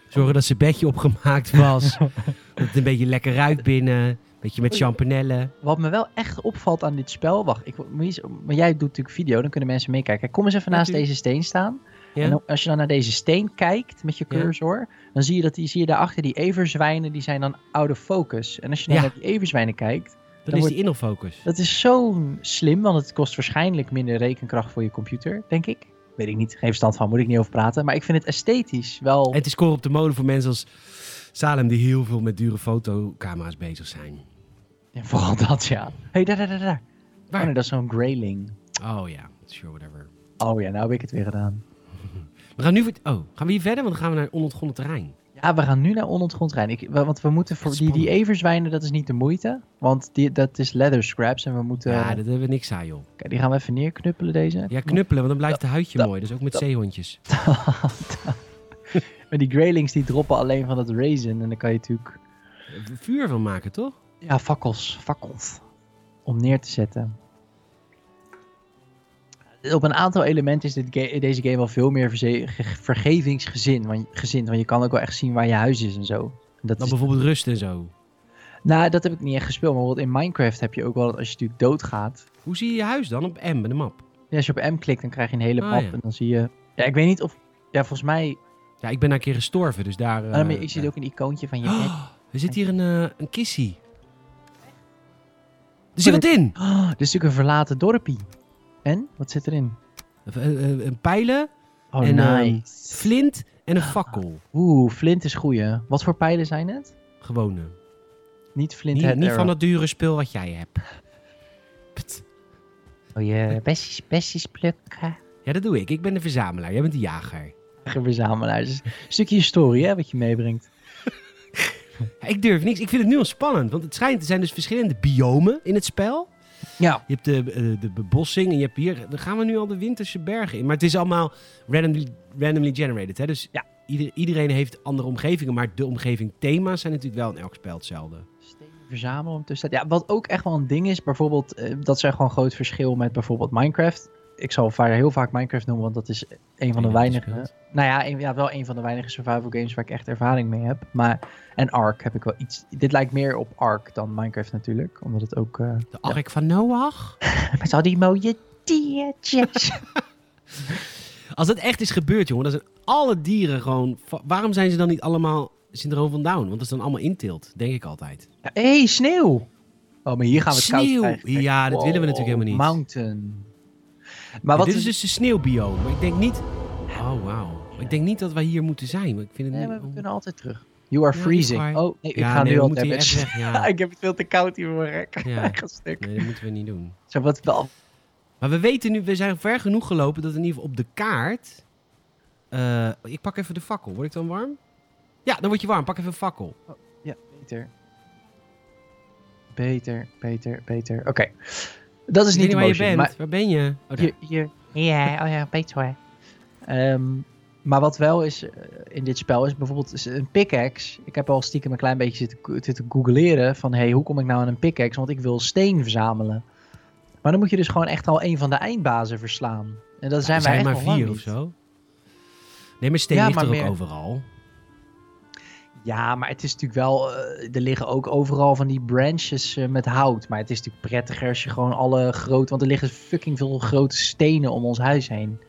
Speaker 2: Zorgen dat zijn bedje opgemaakt
Speaker 1: [laughs]
Speaker 2: was. dat het een beetje lekker ruikt binnen. Een beetje met champanelle.
Speaker 1: Wat me wel echt opvalt aan dit spel... Wacht, ik, moet eens- maar jij doet natuurlijk video. Dan kunnen mensen meekijken. Kijk, Kom eens even
Speaker 2: Ja,
Speaker 1: naast
Speaker 2: tuurlijk.
Speaker 1: deze steen staan.
Speaker 2: Ja.
Speaker 1: En dan- als je dan naar deze steen kijkt met je
Speaker 2: Ja.
Speaker 1: cursor, dan zie je dat die, zie je daarachter die everzwijnen, die zijn dan out of focus. En als je dan
Speaker 2: Ja.
Speaker 1: naar die everzwijnen kijkt,
Speaker 2: dan, is
Speaker 1: wordt-
Speaker 2: die innerfocus.
Speaker 1: dat is zo slim, want het kost waarschijnlijk minder rekenkracht voor je computer, denk ik. Weet ik niet, geen verstand van, moet ik niet over praten. Maar ik vind het esthetisch wel.
Speaker 2: En het is koren op de molen voor mensen als Salem die heel veel met dure fotocamera's bezig zijn.
Speaker 1: Ja, [laughs] vooral dat, ja. Hé, hey, daar, daar, daar, daar. Oh, nee, dat is zo'n grayling.
Speaker 2: Oh ja, sure, whatever.
Speaker 1: Oh ja, nou heb ik het weer gedaan.
Speaker 2: We gaan nu... weer- Oh, gaan we hier verder? Want dan gaan we naar een onontgonnen terrein.
Speaker 1: Ja, we gaan nu naar onontgrond rijden. Ik, wa- want we moeten voor
Speaker 2: Wat
Speaker 1: die, die
Speaker 2: spannend.
Speaker 1: everzwijnen, dat is niet de moeite. Want die, dat is leather scraps en we moeten...
Speaker 2: Ja, dat hebben we niks aan, joh.
Speaker 1: Kijk, die gaan we even neerknuppelen, deze.
Speaker 2: Ja, knuppelen, want dan blijft het huidje
Speaker 1: dat-
Speaker 2: mooi. Dus ook met
Speaker 1: dat-
Speaker 2: zeehondjes.
Speaker 1: Maar die Graylings die droppen alleen van dat raisin. En dan kan je natuurlijk
Speaker 2: Vuur van maken, toch?
Speaker 1: ja, fakkels, fakkels om neer te zetten. Op een aantal elementen is dit ga- deze game wel veel meer verze- ge- vergevingsgezind. Want, gezind, want je kan ook wel echt zien waar je huis is en zo. En Dat
Speaker 2: Dan
Speaker 1: is,
Speaker 2: Nou, bijvoorbeeld rust en zo.
Speaker 1: nou, dat heb ik niet echt gespeeld. Maar bijvoorbeeld in Minecraft heb je ook wel dat als je natuurlijk doodgaat.
Speaker 2: Hoe zie je je huis dan op M, in de map?
Speaker 1: Ja, als je op M klikt, dan krijg je een hele
Speaker 2: Ah,
Speaker 1: map.
Speaker 2: ja.
Speaker 1: En dan zie je... Ja, ik weet niet of... Ja, volgens mij...
Speaker 2: Ja, ik ben daar een keer gestorven, dus daar... eh,
Speaker 1: Ah, maar je ziet ook een icoontje
Speaker 2: [gasps]
Speaker 1: van je bed.
Speaker 2: Oh, er zit hier een, eh, een kissie. Er zit wat in!
Speaker 1: Oh, dit is natuurlijk een verlaten dorpie. En? Wat zit erin?
Speaker 2: Eh, eh, Een pijlen,
Speaker 1: Oh,
Speaker 2: En, ehm,
Speaker 1: nice.
Speaker 2: flint en een fakkel.
Speaker 1: Oeh, flint is goeie. Wat voor pijlen zijn het?
Speaker 2: Gewone.
Speaker 1: Niet flint
Speaker 2: Niet,
Speaker 1: head
Speaker 2: niet
Speaker 1: arrow.
Speaker 2: van dat dure spul wat jij hebt. Pst.
Speaker 1: Oh je besties, besties plukken.
Speaker 2: Ja, dat doe ik. Ik ben de verzamelaar. Jij bent de jager.
Speaker 1: [laughs] Verzamelaars. Dus Een stukje historie, hè, wat je meebrengt.
Speaker 2: Ja, Ik durf niks. Ik vind het nu al spannend. Want het schijnt, er zijn dus verschillende biomen in het spel.
Speaker 1: Ja.
Speaker 2: Je hebt de, eh, de bebossing en je hebt hier... Dan gaan we nu al de winterse bergen in. Maar het is allemaal randomly, randomly generated. Hè? Dus
Speaker 1: Ja.
Speaker 2: ieder- iedereen heeft andere omgevingen. Maar de omgeving thema's zijn natuurlijk wel in elk spel hetzelfde.
Speaker 1: Stenen verzamelen om te zetten. Ja, wat ook echt wel een ding is, bijvoorbeeld, eh, dat is echt wel een groot verschil met bijvoorbeeld Minecraft. Ik zal va- heel vaak Minecraft noemen, want dat is een van de
Speaker 2: Ja,
Speaker 1: weinige.
Speaker 2: dat
Speaker 1: Nou ja, een- ja, wel een van de weinige survival games waar ik echt ervaring mee heb. Maar, en Ark heb ik wel iets. Dit lijkt meer op Ark dan Minecraft natuurlijk, omdat het ook. eh,
Speaker 2: De Ark van Noach.
Speaker 1: Met al die mooie [laughs] diertjes.
Speaker 2: Als dat echt is gebeurd, jongen, dan zijn alle dieren gewoon... va- Waarom zijn ze dan niet allemaal syndroom van Down? Want dat is dan allemaal inteelt, denk ik altijd.
Speaker 1: Hé, hey, sneeuw! Oh, maar hier gaan we het koud
Speaker 2: Sneeuw.
Speaker 1: krijgen. Kijk,
Speaker 2: Ja, dat
Speaker 1: wow,
Speaker 2: willen we natuurlijk helemaal niet.
Speaker 1: Mountain. Maar wat
Speaker 2: dit
Speaker 1: is...
Speaker 2: is dus de sneeuwbioom. Maar ik denk niet... Oh, wauw. Maar Ik denk niet dat wij hier moeten zijn. Maar ik vind het
Speaker 1: Nee,
Speaker 2: niet...
Speaker 1: maar we kunnen altijd terug. You are
Speaker 2: Ja,
Speaker 1: freezing.
Speaker 2: echt waar.
Speaker 1: Oh, nee, ik
Speaker 2: Ja,
Speaker 1: ga
Speaker 2: nee,
Speaker 1: nu
Speaker 2: we
Speaker 1: al
Speaker 2: moeten hier echt
Speaker 1: damage.
Speaker 2: weg.
Speaker 1: [laughs]
Speaker 2: Ja.
Speaker 1: ik heb het veel te koud hier voor mijn rek.
Speaker 2: Ja.
Speaker 1: [laughs] Eigen stuk.
Speaker 2: Nee, dat moeten we niet doen.
Speaker 1: Zo, wat wel.
Speaker 2: Maar we weten nu, we zijn ver genoeg gelopen dat in ieder geval op de kaart... eh, ik pak even de fakkel. Word ik dan warm? Ja, dan word je warm. Pak even een fakkel.
Speaker 1: Ja, beter. Beter, beter, beter. Oké. Dat is niet de
Speaker 2: Ik weet niet waar je
Speaker 1: motion,
Speaker 2: bent.
Speaker 1: maar
Speaker 2: Waar ben je? Oh, daar.
Speaker 1: hier, hier. Ja, oh ja, beter hoor. Ehm, maar wat wel is eh, in dit spel is bijvoorbeeld is een pickaxe. Ik heb al stiekem een klein beetje zitten, ko- zitten googleren van hey, hoe kom ik nou aan een pickaxe? Want ik wil steen verzamelen. Maar dan moet je dus gewoon echt al een van de eindbazen verslaan. En dat zijn
Speaker 2: Er
Speaker 1: wij echt
Speaker 2: maar
Speaker 1: nog lang
Speaker 2: vier
Speaker 1: niet.
Speaker 2: of zo. Nee, maar steen
Speaker 1: Ja,
Speaker 2: ligt
Speaker 1: maar
Speaker 2: er ook
Speaker 1: meer.
Speaker 2: overal.
Speaker 1: Ja, maar het is natuurlijk wel. eh, er liggen ook overal van die branches eh, met hout. Maar het is natuurlijk prettiger als je gewoon alle grote. Want er liggen fucking veel grote stenen om ons huis heen.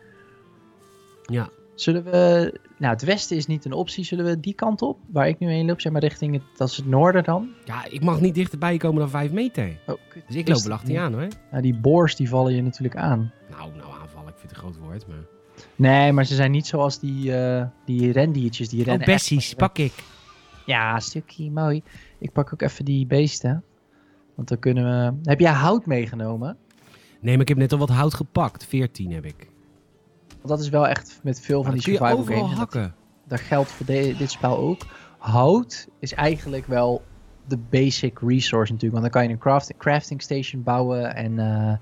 Speaker 2: Ja.
Speaker 1: Zullen we. Nou, het westen is niet een optie. Zullen we die kant op? Waar ik nu heen loop, zeg maar richting het. Dat is het noorden dan.
Speaker 2: Ja, ik mag niet dichterbij komen dan vijf meter.
Speaker 1: Oh, kut.
Speaker 2: Dus ik loop
Speaker 1: Is-
Speaker 2: wel achter je aan, hoor.
Speaker 1: Nou, die boors die vallen je natuurlijk aan.
Speaker 2: Nou, nou aanvallen, ik vind het een groot woord, maar...
Speaker 1: Nee, maar ze zijn niet zoals die, eh die rendiertjes. Die rennen
Speaker 2: Oh,
Speaker 1: echt
Speaker 2: Bessies, pak ik.
Speaker 1: Ja, stukje mooi. Ik pak ook even die beesten. Want dan kunnen we. Heb jij hout meegenomen?
Speaker 2: Nee, maar ik heb net al wat hout gepakt. 14 heb ik.
Speaker 1: Want dat is wel echt met veel van
Speaker 2: Maar
Speaker 1: die
Speaker 2: dat kun je
Speaker 1: survival
Speaker 2: overal
Speaker 1: games. en Dat,
Speaker 2: hakken.
Speaker 1: dat geldt voor de- dit spel ook. Hout is eigenlijk wel de basic resource natuurlijk. Want dan kan je een craft- crafting station bouwen en eh,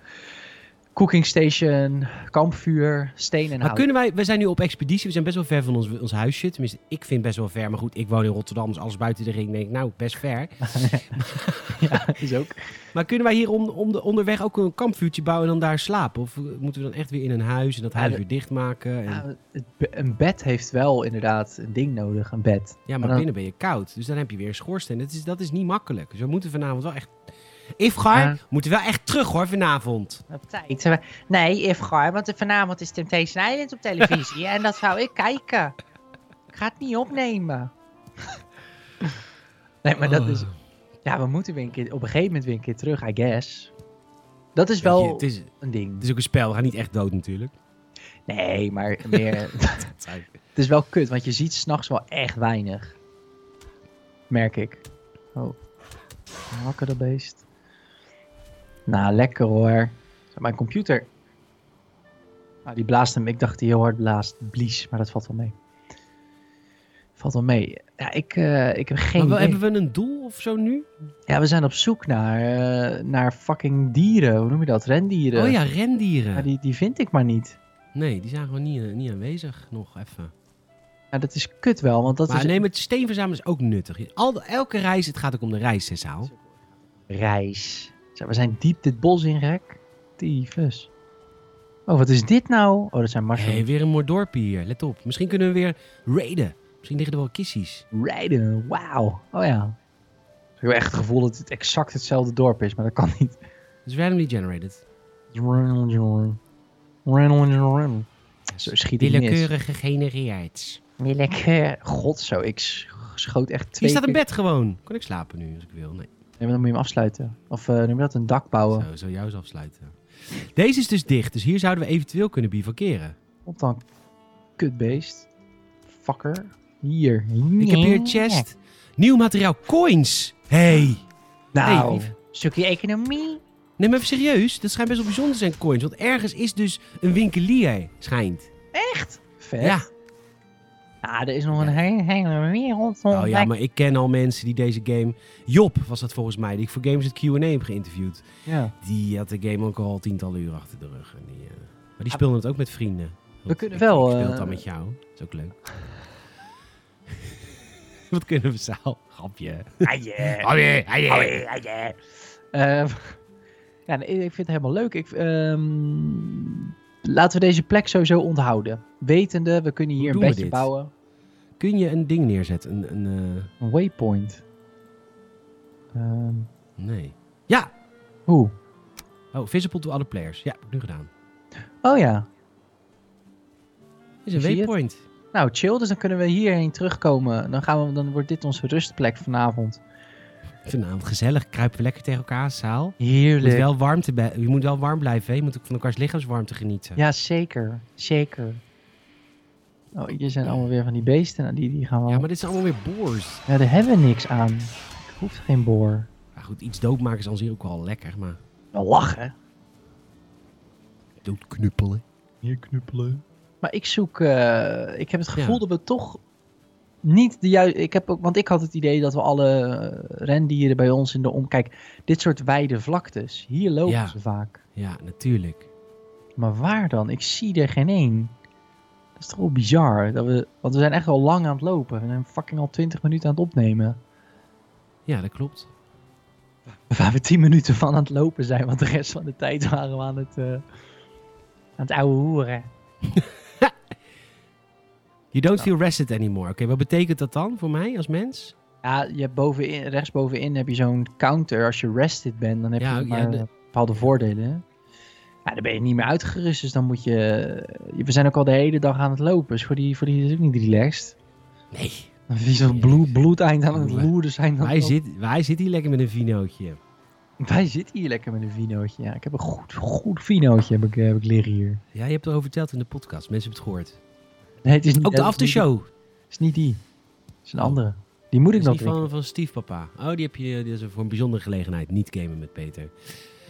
Speaker 1: cooking station, kampvuur, steen en
Speaker 2: Maar
Speaker 1: hout.
Speaker 2: kunnen wij... We zijn nu op expeditie. We zijn best wel ver van ons, ons huisje. Tenminste, ik vind best wel ver. Maar goed, ik woon in Rotterdam. Dus alles buiten de ring denk ik, nou, best
Speaker 1: [laughs]
Speaker 2: ver.
Speaker 1: Ja, is ook.
Speaker 2: Maar kunnen wij hier om, om de, onderweg ook een kampvuurtje bouwen en dan daar slapen? Of eh, moeten we dan echt weer in een huis en dat
Speaker 1: Ja, Nou,
Speaker 2: huis
Speaker 1: dat-
Speaker 2: weer dichtmaken? En...
Speaker 1: Ja, het be- een bed heeft wel inderdaad een ding nodig, een bed.
Speaker 2: Ja, maar
Speaker 1: Maar dan-
Speaker 2: binnen ben je koud. Dus dan heb je weer een schoorsteen. Dat is, dat is niet makkelijk. Dus we moeten vanavond wel echt... Ifgar,
Speaker 1: Ja.
Speaker 2: we moeten wel echt terug hoor, vanavond.
Speaker 1: Op tijd. Nee, Ifgar, want vanavond is Temptation Island op televisie en dat zou ik kijken. Ik ga het niet opnemen. nee, maar
Speaker 2: Oh.
Speaker 1: dat is... Ja, we moeten weer een keer, op een gegeven moment weer een keer terug, I guess. Dat is
Speaker 2: Weet je,
Speaker 1: wel
Speaker 2: het, is, het
Speaker 1: een ding.
Speaker 2: is ook een spel. We gaan niet echt dood
Speaker 1: [laughs]
Speaker 2: natuurlijk.
Speaker 1: Nee, maar meer...
Speaker 2: [laughs]
Speaker 1: [laughs]
Speaker 2: Dat zou-
Speaker 1: het is wel kut, want je ziet s'nachts wel echt weinig. Merk ik. Oh. Hakken dat beest. Nou, lekker hoor. Zo, Mijn computer. Ah, die blaast hem. Ik dacht die heel hard blaast. Blies, maar dat valt wel mee. Valt wel mee. Ja, ik, eh, ik heb geen
Speaker 2: Maar wel,
Speaker 1: idee.
Speaker 2: hebben we een doel of zo nu?
Speaker 1: Ja, we zijn op zoek naar, eh, naar fucking dieren. Hoe noem je dat? Rendieren.
Speaker 2: Oh ja,
Speaker 1: Maar
Speaker 2: rendieren.
Speaker 1: die, die vind ik maar niet.
Speaker 2: Nee, die zijn gewoon niet, eh, niet aanwezig nog even.
Speaker 1: Ja, dat is kut wel, want dat
Speaker 2: maar
Speaker 1: is
Speaker 2: nee, maar het steen verzamelen is ook nuttig. Al, de- elke reis, het gaat ook om de reis, hè, Saal.
Speaker 1: reis. Zo, we zijn diep dit bos in, gek. Tyfus. Oh, wat is dit nou? Oh, dat zijn
Speaker 2: Hé,
Speaker 1: marshallen.
Speaker 2: weer een mooi dorpje hier. Let op. Misschien kunnen we weer raiden. Misschien liggen er wel kissies.
Speaker 1: Rijden, wauw. Oh ja. Ik heb echt het gevoel dat het exact hetzelfde dorp is, maar dat kan niet.
Speaker 2: Het is randomly generated.
Speaker 1: Zo schiet ik mis.
Speaker 2: Willekeurig gegenereerd.
Speaker 1: Willekeur. God, zo. Ik sch- schoot echt
Speaker 2: Hier
Speaker 1: twee
Speaker 2: staat een
Speaker 1: keer-
Speaker 2: bed gewoon. Kan ik slapen nu als ik wil? Nee,
Speaker 1: Nee, maar dan moet je hem afsluiten. Of eh, noem je dat? Een dak bouwen.
Speaker 2: zo, zo jou eens afsluiten. Deze is dus dicht, dus hier zouden we eventueel kunnen bivakeren.
Speaker 1: Op dan, kutbeest. Fucker. Hier.
Speaker 2: Ik heb hier een chest. Nieuw materiaal. Coins. Hey. Hey,
Speaker 1: Nou,
Speaker 2: lief.
Speaker 1: stukje economie.
Speaker 2: Neem even serieus. Dat schijnt best wel bijzonder te zijn, coins. Want ergens is dus een winkelier, schijnt.
Speaker 1: Vet.
Speaker 2: Ja.
Speaker 1: Ah, er is nog
Speaker 2: Ja.
Speaker 1: een hele, hele wereld.
Speaker 2: Oh ja, maar ik ken al mensen die deze game... Job was dat volgens mij, die ik voor Games het Q&A heb geïnterviewd.
Speaker 1: Ja.
Speaker 2: Die had de game ook al tientallen uur achter de rug. En die, eh, Maar die speelde het ook met vrienden. Goed,
Speaker 1: Ah. kunnen
Speaker 2: ik-
Speaker 1: wel,
Speaker 2: Ik speel het
Speaker 1: eh,
Speaker 2: dan met jou. Dat is ook leuk. [laughs] Wat kunnen we zaal? Grapje.
Speaker 1: Ah, [laughs] yeah.
Speaker 2: Grapje.
Speaker 1: Ah, yeah, ah, yeah. Ehm, [laughs] ja, nee, ik vind het helemaal leuk. Ik, ehm, laten we deze plek sowieso onthouden. Wetende, we kunnen
Speaker 2: Hoe
Speaker 1: hier een
Speaker 2: doen we
Speaker 1: bedje
Speaker 2: dit?
Speaker 1: bouwen.
Speaker 2: Kun je een ding neerzetten? Een, een, eh,
Speaker 1: Een waypoint. Ehm,
Speaker 2: nee. Ja!
Speaker 1: hoe?
Speaker 2: Oh, visible to other players. Ja, heb ik nu gedaan.
Speaker 1: Oh ja.
Speaker 2: Is een
Speaker 1: Zie je het?
Speaker 2: waypoint.
Speaker 1: Nou, chill. Dus dan kunnen we hierheen terugkomen. Dan, gaan we, dan wordt dit onze rustplek vanavond.
Speaker 2: Vanavond nou gezellig. Kruipen we lekker tegen elkaar, zaal. Je moet
Speaker 1: Heerlijk.
Speaker 2: wel, warmte be- je moet wel warm blijven. Hè? Je moet ook van elkaars lichaamswarmte genieten.
Speaker 1: Ja, zeker. Zeker. Oh, hier zijn allemaal weer van die beesten. Nou, die, die gaan we...
Speaker 2: Ja, maar dit zijn allemaal weer boors.
Speaker 1: Ja, daar hebben we niks aan. Er hoeft geen boor.
Speaker 2: Ja, goed, iets doodmaken is aan zich ook wel lekker, maar
Speaker 1: Nou, lachen.
Speaker 2: doodknuppelen.
Speaker 1: Hier knuppelen. Maar ik zoek... eh, ik heb het gevoel
Speaker 2: Ja.
Speaker 1: dat we toch niet de juiste... Ik heb ook, want ik had het idee dat we alle eh, rendieren bij ons in de om... Kijk, dit soort wijde vlaktes. Hier lopen
Speaker 2: Ja.
Speaker 1: ze vaak.
Speaker 2: Ja, natuurlijk.
Speaker 1: Maar waar dan? Ik zie er geen één. Dat is toch wel bizar. Dat we, want we zijn echt al lang aan het lopen. We zijn fucking al 20 minuten aan het opnemen.
Speaker 2: Ja, dat klopt.
Speaker 1: [laughs] Waar we 10 minuten van aan het lopen zijn. Want de rest van de tijd waren we aan het, eh aan het ouwe hoeren.
Speaker 2: You don't feel rested anymore. Oké, wat betekent dat dan voor mij als mens?
Speaker 1: Ja, je hebt bovenin, rechtsbovenin heb je zo'n counter. Als je rested bent, dan heb
Speaker 2: Ja,
Speaker 1: je
Speaker 2: ja,
Speaker 1: maar
Speaker 2: de-
Speaker 1: eh, bepaalde voordelen. hè. Ja, dan ben je niet meer uitgerust. Dus dan moet je... je- We zijn ook al de hele dag aan het lopen. Dus voor die, voor die is het ook niet relaxed.
Speaker 2: Nee.
Speaker 1: Wie zo'n bloed, bloedeind aan het loeren zijn. dan
Speaker 2: Wij
Speaker 1: ook.
Speaker 2: zit, wij zit hier lekker met een vinootje.
Speaker 1: Wij zitten hier lekker met een vinootje. Ja, ik heb een goed, goed vinootje heb ik, eh, heb ik liggen hier.
Speaker 2: Ja, je hebt erover verteld in de podcast. Mensen hebben het gehoord.
Speaker 1: Nee, het is niet,
Speaker 2: Ook de
Speaker 1: dat is niet-
Speaker 2: aftershow.
Speaker 1: Het is niet die. Het is een
Speaker 2: Oh.
Speaker 1: andere. Die moet ik
Speaker 2: Dat is
Speaker 1: nog
Speaker 2: niet
Speaker 1: drinken.
Speaker 2: van, van stiefpapa. Oh, die heb je die is voor een bijzondere gelegenheid. Niet gamen met Peter.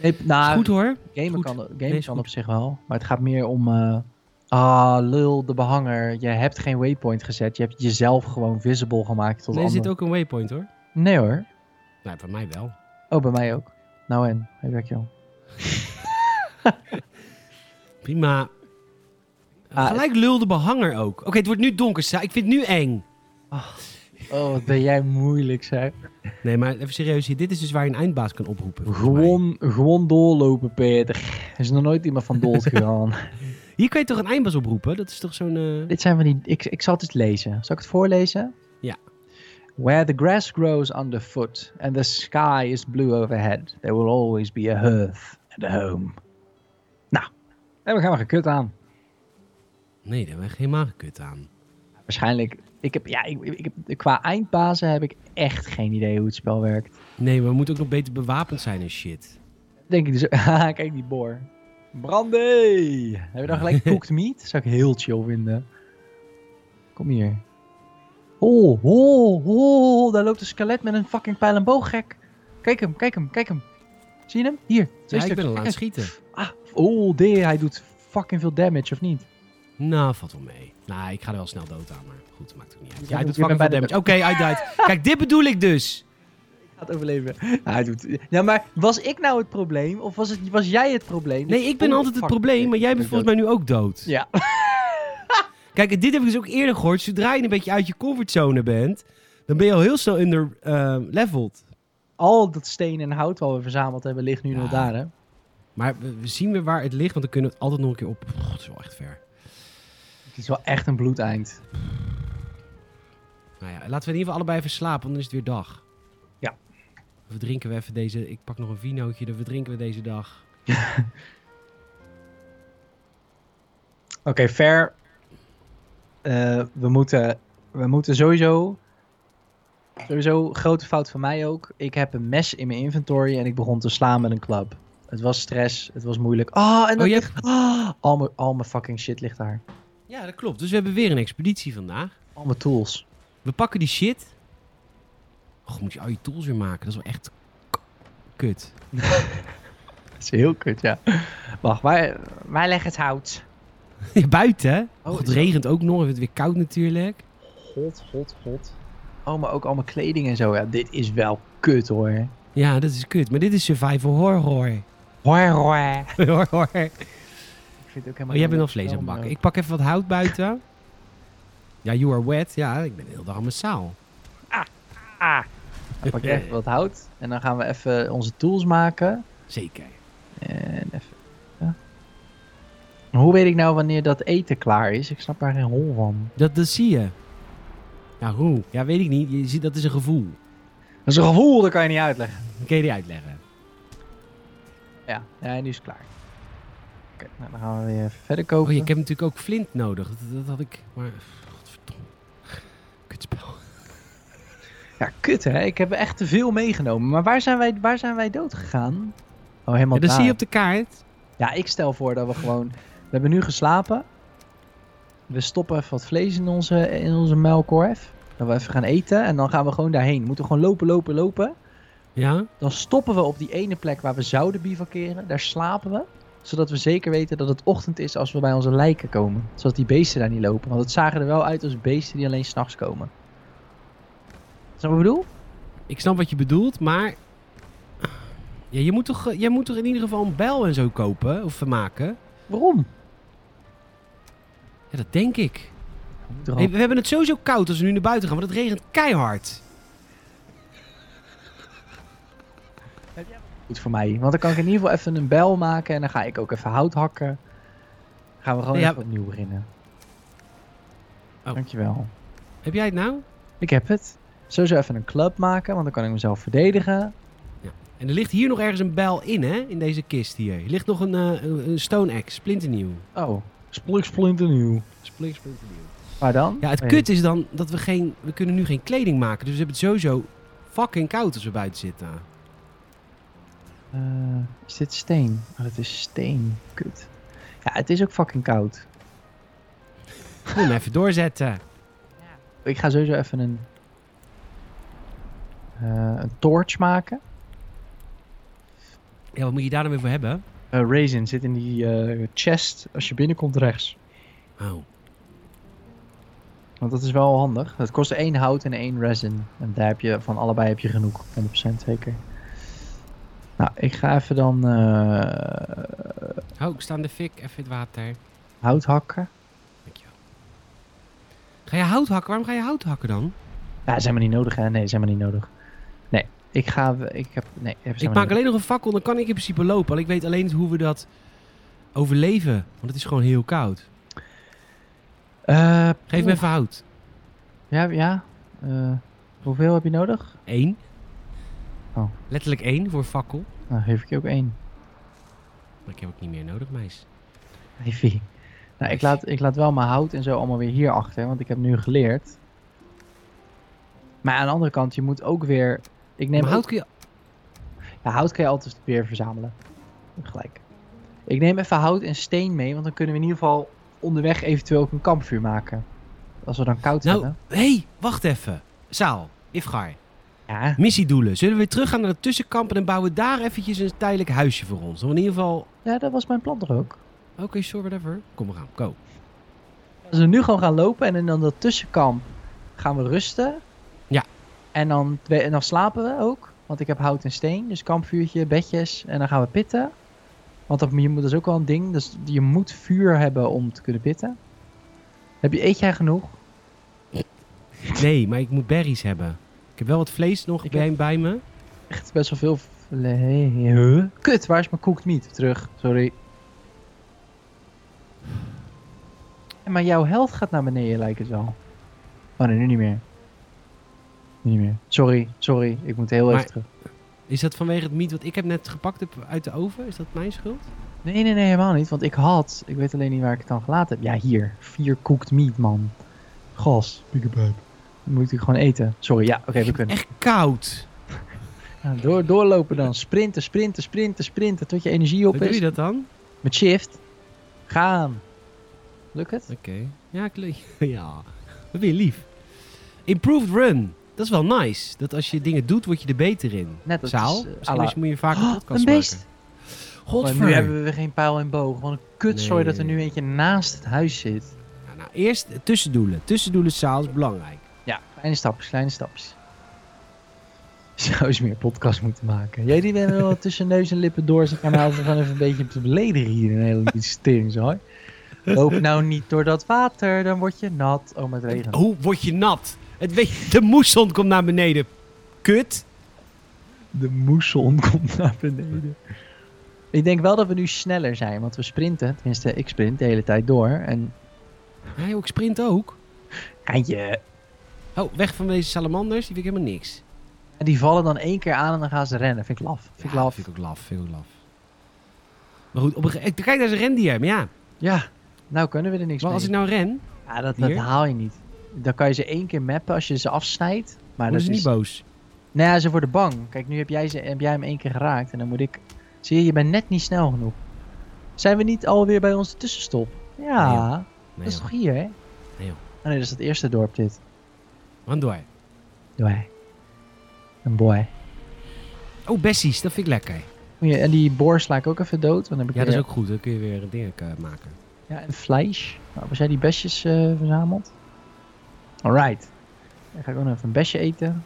Speaker 1: Nee,
Speaker 2: Is
Speaker 1: nou,
Speaker 2: goed hoor.
Speaker 1: gamen
Speaker 2: goed.
Speaker 1: kan, gamen
Speaker 2: Nee, is
Speaker 1: kan
Speaker 2: goed.
Speaker 1: op zich wel. Maar het gaat meer om... eh, ah, lul, de behanger. Je hebt geen waypoint gezet. Je hebt jezelf gewoon visible gemaakt tot
Speaker 2: Nee, er
Speaker 1: anderen.
Speaker 2: zit ook een waypoint hoor.
Speaker 1: Nee hoor.
Speaker 2: Nou, voor mij wel.
Speaker 1: Oh, bij mij ook. Nou en, hey, werk joh.
Speaker 2: Prima.
Speaker 1: Ah,
Speaker 2: Gelijk lulde behanger ook. Oké, het wordt nu donker. Sa- Ik vind het nu eng.
Speaker 1: Oh, wat ben jij moeilijk, zeg.
Speaker 2: Nee, maar even serieus. hier, Dit is dus waar je een eindbaas kan oproepen. volgens mij.
Speaker 1: Gewoon, gewoon doorlopen, Peter. Er is nog nooit iemand van dood gegaan.
Speaker 2: Hier kan je toch een eindbaas oproepen? Dat is toch zo'n... eh,
Speaker 1: Dit zijn van die. Ik, ik zal het eens lezen. Zal ik het voorlezen?
Speaker 2: Ja.
Speaker 1: Where the grass grows underfoot and the sky is blue overhead, there will always be a hearth and a home. Nou, en we gaan maar gekut aan.
Speaker 2: Nee, daar hebben we helemaal gekut aan.
Speaker 1: Waarschijnlijk. Ik heb, ja, ik, ik heb, qua eindbazen heb ik echt geen idee hoe het spel werkt.
Speaker 2: Nee, maar we moeten ook nog beter bewapend zijn en shit.
Speaker 1: Denk ik dus. [laughs] Haha, kijk die boor. Brandy! Heb je dan
Speaker 2: [laughs]
Speaker 1: gelijk cooked meat? Zou ik heel chill vinden. Kom hier. Oh, oh, oh, daar loopt een skelet met een fucking pijl en boog, gek. Kijk hem, kijk hem, kijk hem. Zie je hem? Hier, twee
Speaker 2: Ja, ik
Speaker 1: stuks.
Speaker 2: ben al aan het
Speaker 1: Kijk
Speaker 2: schieten.
Speaker 1: eens. Ah, oh, dear, hij doet fucking veel damage, of niet?
Speaker 2: Nou, valt wel mee. Nou, ik ga er wel snel dood aan, maar goed, maakt ook niet uit. Ja, hij doet
Speaker 1: Je bent
Speaker 2: fucking veel
Speaker 1: bij
Speaker 2: damage. Oké, hij died. Kijk, dit bedoel ik
Speaker 1: [laughs]
Speaker 2: dus.
Speaker 1: Gaat overleven. Ja, hij doet... Ja, maar was ik nou het probleem? Of was, het, was jij het probleem?
Speaker 2: Nee, ik ben
Speaker 1: Oh,
Speaker 2: altijd het
Speaker 1: fuck.
Speaker 2: probleem, maar jij bent volgens mij nu ook dood.
Speaker 1: Ja.
Speaker 2: Kijk, dit heb ik dus ook eerder gehoord. Zodra je een beetje uit je comfortzone bent, dan ben je al heel snel under eh, leveled.
Speaker 1: Al dat steen en hout wat we verzameld hebben, ligt nu
Speaker 2: Ja.
Speaker 1: nog daar, hè?
Speaker 2: Maar we, we zien weer waar het ligt, want dan kunnen we het altijd nog een keer op. Pff, dat is wel echt ver.
Speaker 1: Het is wel echt een bloedeind.
Speaker 2: Nou ja, laten we in ieder geval allebei even slapen, want dan is het weer dag.
Speaker 1: Ja.
Speaker 2: We drinken we even deze... Ik pak nog een vinootje, dan verdrinken we deze dag.
Speaker 1: Oké, fair. Eh, we, moeten, we moeten sowieso... Sowieso, grote fout van mij ook. Ik heb een mes in mijn inventory en ik begon te slaan met een club. Het was stress, het was moeilijk. Ah, en dat
Speaker 2: Oh, je
Speaker 1: ligt... Ah, al, mijn, al mijn fucking shit ligt daar.
Speaker 2: Ja, dat klopt. Dus we hebben weer een expeditie vandaag.
Speaker 1: Al mijn tools.
Speaker 2: We pakken die shit. Och, moet je al je tools weer maken. Dat is wel echt k- kut. [laughs]
Speaker 1: Dat is heel kut, ja. Wacht, waar, waar leg het hout?
Speaker 2: Ja, Buiten, hè?
Speaker 1: Oh,
Speaker 2: Och, het
Speaker 1: is dat-
Speaker 2: regent ook nog. Het wordt weer koud natuurlijk.
Speaker 1: God, god, god. Oh, maar ook al mijn kleding en zo. Ja, dit is wel kut, hoor.
Speaker 2: Ja, dat is kut. Maar dit is survival horror.
Speaker 1: Hoor, hoor.
Speaker 2: horror. horror.
Speaker 1: Ik vind het ook helemaal
Speaker 2: Oh, jij
Speaker 1: niet
Speaker 2: bent al vlees aan
Speaker 1: waarom,
Speaker 2: het bakken.
Speaker 1: eh,
Speaker 2: Ik pak even wat hout buiten. Ja, you are wet. Ja, ik ben de hele dag aan mijn zaal.
Speaker 1: Dan [laughs] pak ik even wat hout. En dan gaan we even onze tools maken.
Speaker 2: Zeker.
Speaker 1: En even. ja. Hoe weet ik nou wanneer dat eten klaar is? Ik snap daar geen hol van.
Speaker 2: Dat, dat zie je. Ja, hoe? Ja, weet ik niet. Je ziet, dat is een gevoel.
Speaker 1: Dat is een gevoel, dat kan je niet uitleggen.
Speaker 2: Dat kan je die uitleggen.
Speaker 1: Ja, ja en nu is het klaar. Oké, nou, dan gaan we weer even verder
Speaker 2: Oh,
Speaker 1: koken.
Speaker 2: ik heb natuurlijk ook flint nodig. Dat, dat had ik. Maar. Godverdomme. Kutspel.
Speaker 1: Ja, kut hè. Ik heb echt te veel meegenomen. Maar waar zijn wij, waar zijn wij dood gegaan? Oh, helemaal
Speaker 2: Ja, dat
Speaker 1: daar.
Speaker 2: zie je op de kaart.
Speaker 1: Ja, ik stel voor dat we gewoon... We hebben nu geslapen. we stoppen even wat vlees in onze, in onze muilkorf. Dat we even gaan eten en dan gaan we gewoon daarheen. Moeten we gewoon lopen, lopen, lopen.
Speaker 2: Ja?
Speaker 1: Dan stoppen we op die ene plek waar we zouden bivakeren. Daar slapen we. Zodat we zeker weten dat het ochtend is als we bij onze lijken komen. Zodat die beesten daar niet lopen. Want het zagen er wel uit als beesten die alleen s'nachts komen. Snap je wat ik bedoel?
Speaker 2: Ik snap wat je bedoelt, maar... Ja, je moet toch, eh, jij moet toch in ieder geval een bel en zo kopen of maken?
Speaker 1: Waarom?
Speaker 2: Ja, dat denk ik.
Speaker 1: Droom.
Speaker 2: Hey, we hebben het sowieso koud als we nu naar buiten gaan, want het regent keihard.
Speaker 1: goed voor mij. Want dan kan ik in ieder geval even een bel maken en dan ga ik ook even hout hakken. Dan gaan we gewoon
Speaker 2: Ja.
Speaker 1: even opnieuw beginnen.
Speaker 2: Oh.
Speaker 1: Dankjewel.
Speaker 2: Heb jij het nou?
Speaker 1: Ik heb het. Sowieso even een club maken, want dan kan ik mezelf verdedigen.
Speaker 2: En er ligt hier nog ergens een bel in, hè? In deze kist hier. Er ligt nog een, eh, een een stone axe, splinternieuw.
Speaker 1: Oh, splik splinternieuw.
Speaker 2: Splinter, splinternieuw.
Speaker 1: Maar dan?
Speaker 2: Ja, het
Speaker 1: Weet
Speaker 2: kut is dan dat we geen... We kunnen nu geen kleding maken, dus we hebben het sowieso fucking koud als we buiten zitten.
Speaker 1: ik. Eh, is dit steen? Oh, dat is steen. Kut. Ja, het is ook fucking koud.
Speaker 2: Gewoon even doorzetten.
Speaker 1: Ik ga sowieso even een... eh, een torch maken.
Speaker 2: Ja, wat moet je daar dan weer voor hebben?
Speaker 1: Eh raisin zit in die eh, chest als je binnenkomt rechts.
Speaker 2: Oh.
Speaker 1: Want dat is wel handig. Het kost één hout en één resin. En daar heb je van allebei heb je genoeg. 100% zeker. Nou, ik ga even dan eh,
Speaker 2: Oh, ik sta in de fik. Even in het water.
Speaker 1: hout hakken.
Speaker 2: Dankjewel. Ga je hout hakken? Waarom ga je hout hakken dan?
Speaker 1: Ja, zijn maar niet nodig hè? Nee, zijn maar niet nodig. Nee, ik ga... Ik heb... Nee, ik heb ze
Speaker 2: ik
Speaker 1: helemaal
Speaker 2: maak alleen nog een fakkel, dan kan ik in principe lopen. Al ik weet alleen niet hoe we dat overleven. Want het is gewoon heel koud.
Speaker 1: niet- Eh,
Speaker 2: Geef me even hout.
Speaker 1: Ja, ja. Eh, hoeveel heb je nodig?
Speaker 2: Eén.
Speaker 1: Oh.
Speaker 2: Letterlijk één voor een fakkel.
Speaker 1: Nou, geef ik je ook één. [laughs]
Speaker 2: Maar ik heb ook niet meer nodig, meis.
Speaker 1: Ivy. Nou, ik laat, ik laat wel mijn hout en zo allemaal weer hier achter, want ik heb nu geleerd. Maar aan de andere kant, je moet ook weer... Ik neem
Speaker 2: maar
Speaker 1: ook-
Speaker 2: hout kun je...
Speaker 1: Ja, hout kan je altijd weer verzamelen. Je hebt Gelijk. Ik neem even hout en steen mee, want dan kunnen we in ieder geval onderweg eventueel ook een kampvuur maken. Als we dan koud
Speaker 2: Nou,
Speaker 1: hebben.
Speaker 2: hé, hey, wacht even. Saal, Ifgar,
Speaker 1: Ja.
Speaker 2: missiedoelen. Zullen we weer teruggaan naar het tussenkamp en dan bouwen we daar eventjes een tijdelijk huisje voor ons? Of in ieder geval...
Speaker 1: ja, dat was mijn plan toch ook.
Speaker 2: Oké, sure, whatever. Kom, we gaan. Go.
Speaker 1: Als we nu gewoon gaan lopen en in dan dat tussenkamp gaan we rusten.
Speaker 2: Ja.
Speaker 1: En dan, we- en dan slapen we ook, want ik heb hout en steen. Dus kampvuurtje, bedjes en dan gaan we pitten. Want dat, je moet, dat is ook wel een ding. Dus je moet vuur hebben om te kunnen pitten. Heb je, eet jij genoeg?
Speaker 2: Nee, maar ik moet berries hebben. Ik heb wel wat vlees nog
Speaker 1: Ik
Speaker 2: bij, bij me.
Speaker 1: echt best wel veel. vle- Kut, waar is mijn cooked meat? Terug, sorry. Maar jouw health gaat naar beneden, lijkt het wel. Oh nee, nu niet meer. Nu niet meer. Sorry, sorry, ik moet heel
Speaker 2: Maar-
Speaker 1: even terug.
Speaker 2: Is dat vanwege het miet wat ik heb net gepakt heb uit de oven? Is dat mijn schuld?
Speaker 1: Nee, nee, nee, helemaal niet. Want ik had, ik weet alleen niet waar ik het dan gelaten heb. Ja, hier. Vier cooked meat, man. Gas. Pick Dan moet ik gewoon eten. Sorry, ja, oké, we kunnen.
Speaker 2: Echt koud.
Speaker 1: Ja, door, doorlopen dan. Sprinten, sprinten, sprinten, sprinten. Tot je energie op
Speaker 2: Hoe
Speaker 1: is.
Speaker 2: doe je dat dan?
Speaker 1: Met shift. Gaan. Lukt het?
Speaker 2: Oké. Ja, ik [laughs] le- ja, dat vind je lief. Improved run. Dat is wel nice. Dat als je dingen doet, word je er beter in.
Speaker 1: Net als-
Speaker 2: Zaal,
Speaker 1: eh,
Speaker 2: misschien
Speaker 1: ala-
Speaker 2: moet je vaker
Speaker 1: Oh,
Speaker 2: podcast
Speaker 1: een beest.
Speaker 2: maken.
Speaker 1: Maar
Speaker 2: Godver.
Speaker 1: nu hebben we geen pijl en boog. Wat een kutzooi dat er nu
Speaker 2: Nee.
Speaker 1: eentje naast het huis zit.
Speaker 2: Ja, nou, eerst tussendoelen. Tussendoelen zaal is belangrijk.
Speaker 1: Ja, kleine stapjes, kleine stapjes. [laughs] Zou eens meer podcast moeten maken. Jij die bent
Speaker 2: [laughs]
Speaker 1: wel tussen neus en lippen door zijn kanaal van even een beetje te beledigen hier. Een
Speaker 2: [laughs]
Speaker 1: hele stering zo. Loop nou niet door dat water, dan word je nat. Oh, maar het regent.
Speaker 2: Hoe word je nat? Het weet, de moesson komt naar beneden. Kut.
Speaker 1: De moesson komt naar beneden. Ik denk wel dat we nu sneller zijn, want we sprinten. Tenminste, ik sprint de hele tijd door. En
Speaker 2: Ja, joh, ik sprint ook.
Speaker 1: Eindje.
Speaker 2: Oh, weg van deze salamanders. Die vind ik helemaal niks.
Speaker 1: En die vallen dan één keer aan en dan gaan ze rennen. Vind ik laf. Vind ik
Speaker 2: Ja,
Speaker 1: laf.
Speaker 2: Vind ik ook laf, vind ik ook laf. Maar goed, op een gege- kijk, daar is een rendier. Maar ja,
Speaker 1: Ja, nou kunnen we er niks
Speaker 2: maar als ik
Speaker 1: mee.
Speaker 2: nou ren,
Speaker 1: Ja, dat, dat
Speaker 2: Hier?
Speaker 1: haal je niet. Dan kan je ze één keer mappen als je ze afsnijdt. Maar
Speaker 2: worden
Speaker 1: dat
Speaker 2: ze
Speaker 1: is
Speaker 2: niet boos.
Speaker 1: Nou ja, ze worden bang. Kijk, nu heb jij, ze, heb jij hem één keer geraakt en dan moet ik... Zie je, je bent net niet snel genoeg. Zijn we niet alweer bij onze tussenstop? Ja,
Speaker 2: Nee, joh.
Speaker 1: dat
Speaker 2: Nee,
Speaker 1: is
Speaker 2: joh.
Speaker 1: toch hier, hè?
Speaker 2: Nee, joh.
Speaker 1: Oh, nee, dat is het eerste dorp dit.
Speaker 2: Wandoor.
Speaker 1: Doei. Een boy.
Speaker 2: Oh, Bessies, dat vind ik lekker.
Speaker 1: Moet je- En die boor sla ik ook even dood. Want dan heb ik
Speaker 2: Ja, dat
Speaker 1: weer-
Speaker 2: is ook goed. Dan kun je weer dingen eh, maken.
Speaker 1: Ja, en vlees. Nou, was jij die besjes eh, verzameld? Alright. Dan ga ik ook nog even een besje eten.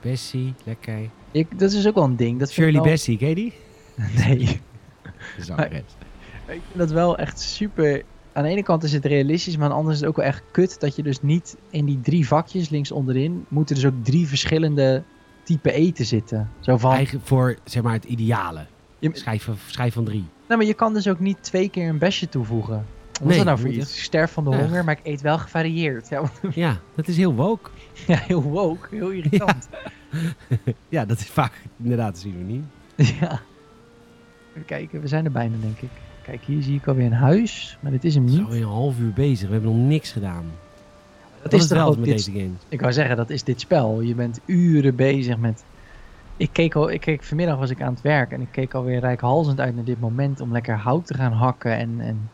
Speaker 2: Bessie, lekker.
Speaker 1: Ik, dat is ook wel een ding. Dat vind ik
Speaker 2: Shirley
Speaker 1: wel-
Speaker 2: Bessie, ken je die?
Speaker 1: [laughs] Nee.
Speaker 2: De zangeres.
Speaker 1: Ik vind dat wel echt super. Aan de ene kant is het realistisch, maar aan de andere is het ook wel echt kut dat je dus niet in die drie vakjes links onderin moeten dus ook drie verschillende type eten zitten. Zo van.
Speaker 2: Eigen voor, zeg maar, het ideale.
Speaker 1: Je-
Speaker 2: Schijf, van- schijf van
Speaker 1: [laughs]
Speaker 2: drie.
Speaker 1: Nou, maar je kan dus ook niet twee keer een besje toevoegen. Wat is
Speaker 2: Nee,
Speaker 1: dat nou voor
Speaker 2: moet
Speaker 1: iets? Ik sterf van de
Speaker 2: Echt.
Speaker 1: honger, maar ik eet wel gevarieerd. Ja, [laughs] want-
Speaker 2: Ja, dat is heel woke.
Speaker 1: ja heel woke, heel irritant. [laughs]
Speaker 2: Ja, dat is vaak inderdaad een synoniem.
Speaker 1: Ja. Even kijken, we zijn er bijna, denk ik. Kijk, hier zie ik alweer een huis, maar dit is hem
Speaker 2: We
Speaker 1: niet.
Speaker 2: zijn alweer een half uur bezig. We hebben nog niks gedaan.
Speaker 1: dat
Speaker 2: is
Speaker 1: is
Speaker 2: het
Speaker 1: toch
Speaker 2: wel
Speaker 1: ook
Speaker 2: met
Speaker 1: dit-
Speaker 2: deze games.
Speaker 1: Ik wou zeggen, dat is dit spel. Je bent uren bezig met... Ik keek, al, ik keek vanmiddag was ik aan het werk en ik keek alweer reikhalzend uit naar dit moment om lekker hout te gaan hakken en, en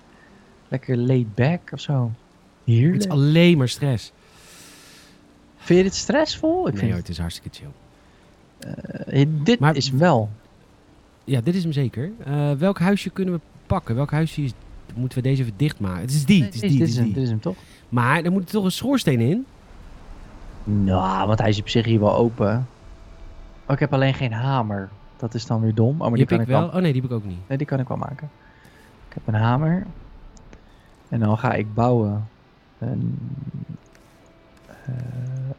Speaker 1: lekker laid back of zo. Hier?
Speaker 2: Het is alleen maar stress.
Speaker 1: Vind je dit stressvol? Ik
Speaker 2: nee
Speaker 1: vind
Speaker 2: hoor, het is hartstikke chill.
Speaker 1: Eh, Dit
Speaker 2: Maar-
Speaker 1: is hem wel.
Speaker 2: Ja, dit is hem zeker. Eh, welk huisje kunnen we pakken? Welk huisje is, moeten we deze even dichtmaken? Het is die, het is die,
Speaker 1: dit,
Speaker 2: het
Speaker 1: is
Speaker 2: is
Speaker 1: hem, dit
Speaker 2: die.
Speaker 1: is hem toch?
Speaker 2: Maar er moet toch een schoorsteen in?
Speaker 1: Nou, want hij is op zich hier wel open. Oh, ik heb alleen geen hamer. Dat is dan weer dom. Oh, maar die,
Speaker 2: die
Speaker 1: kan
Speaker 2: heb
Speaker 1: ik
Speaker 2: ik wel.
Speaker 1: Wel.
Speaker 2: Oh nee, die heb ik ook niet.
Speaker 1: Nee, die kan ik wel maken. Ik heb een hamer. En dan ga ik bouwen. Een...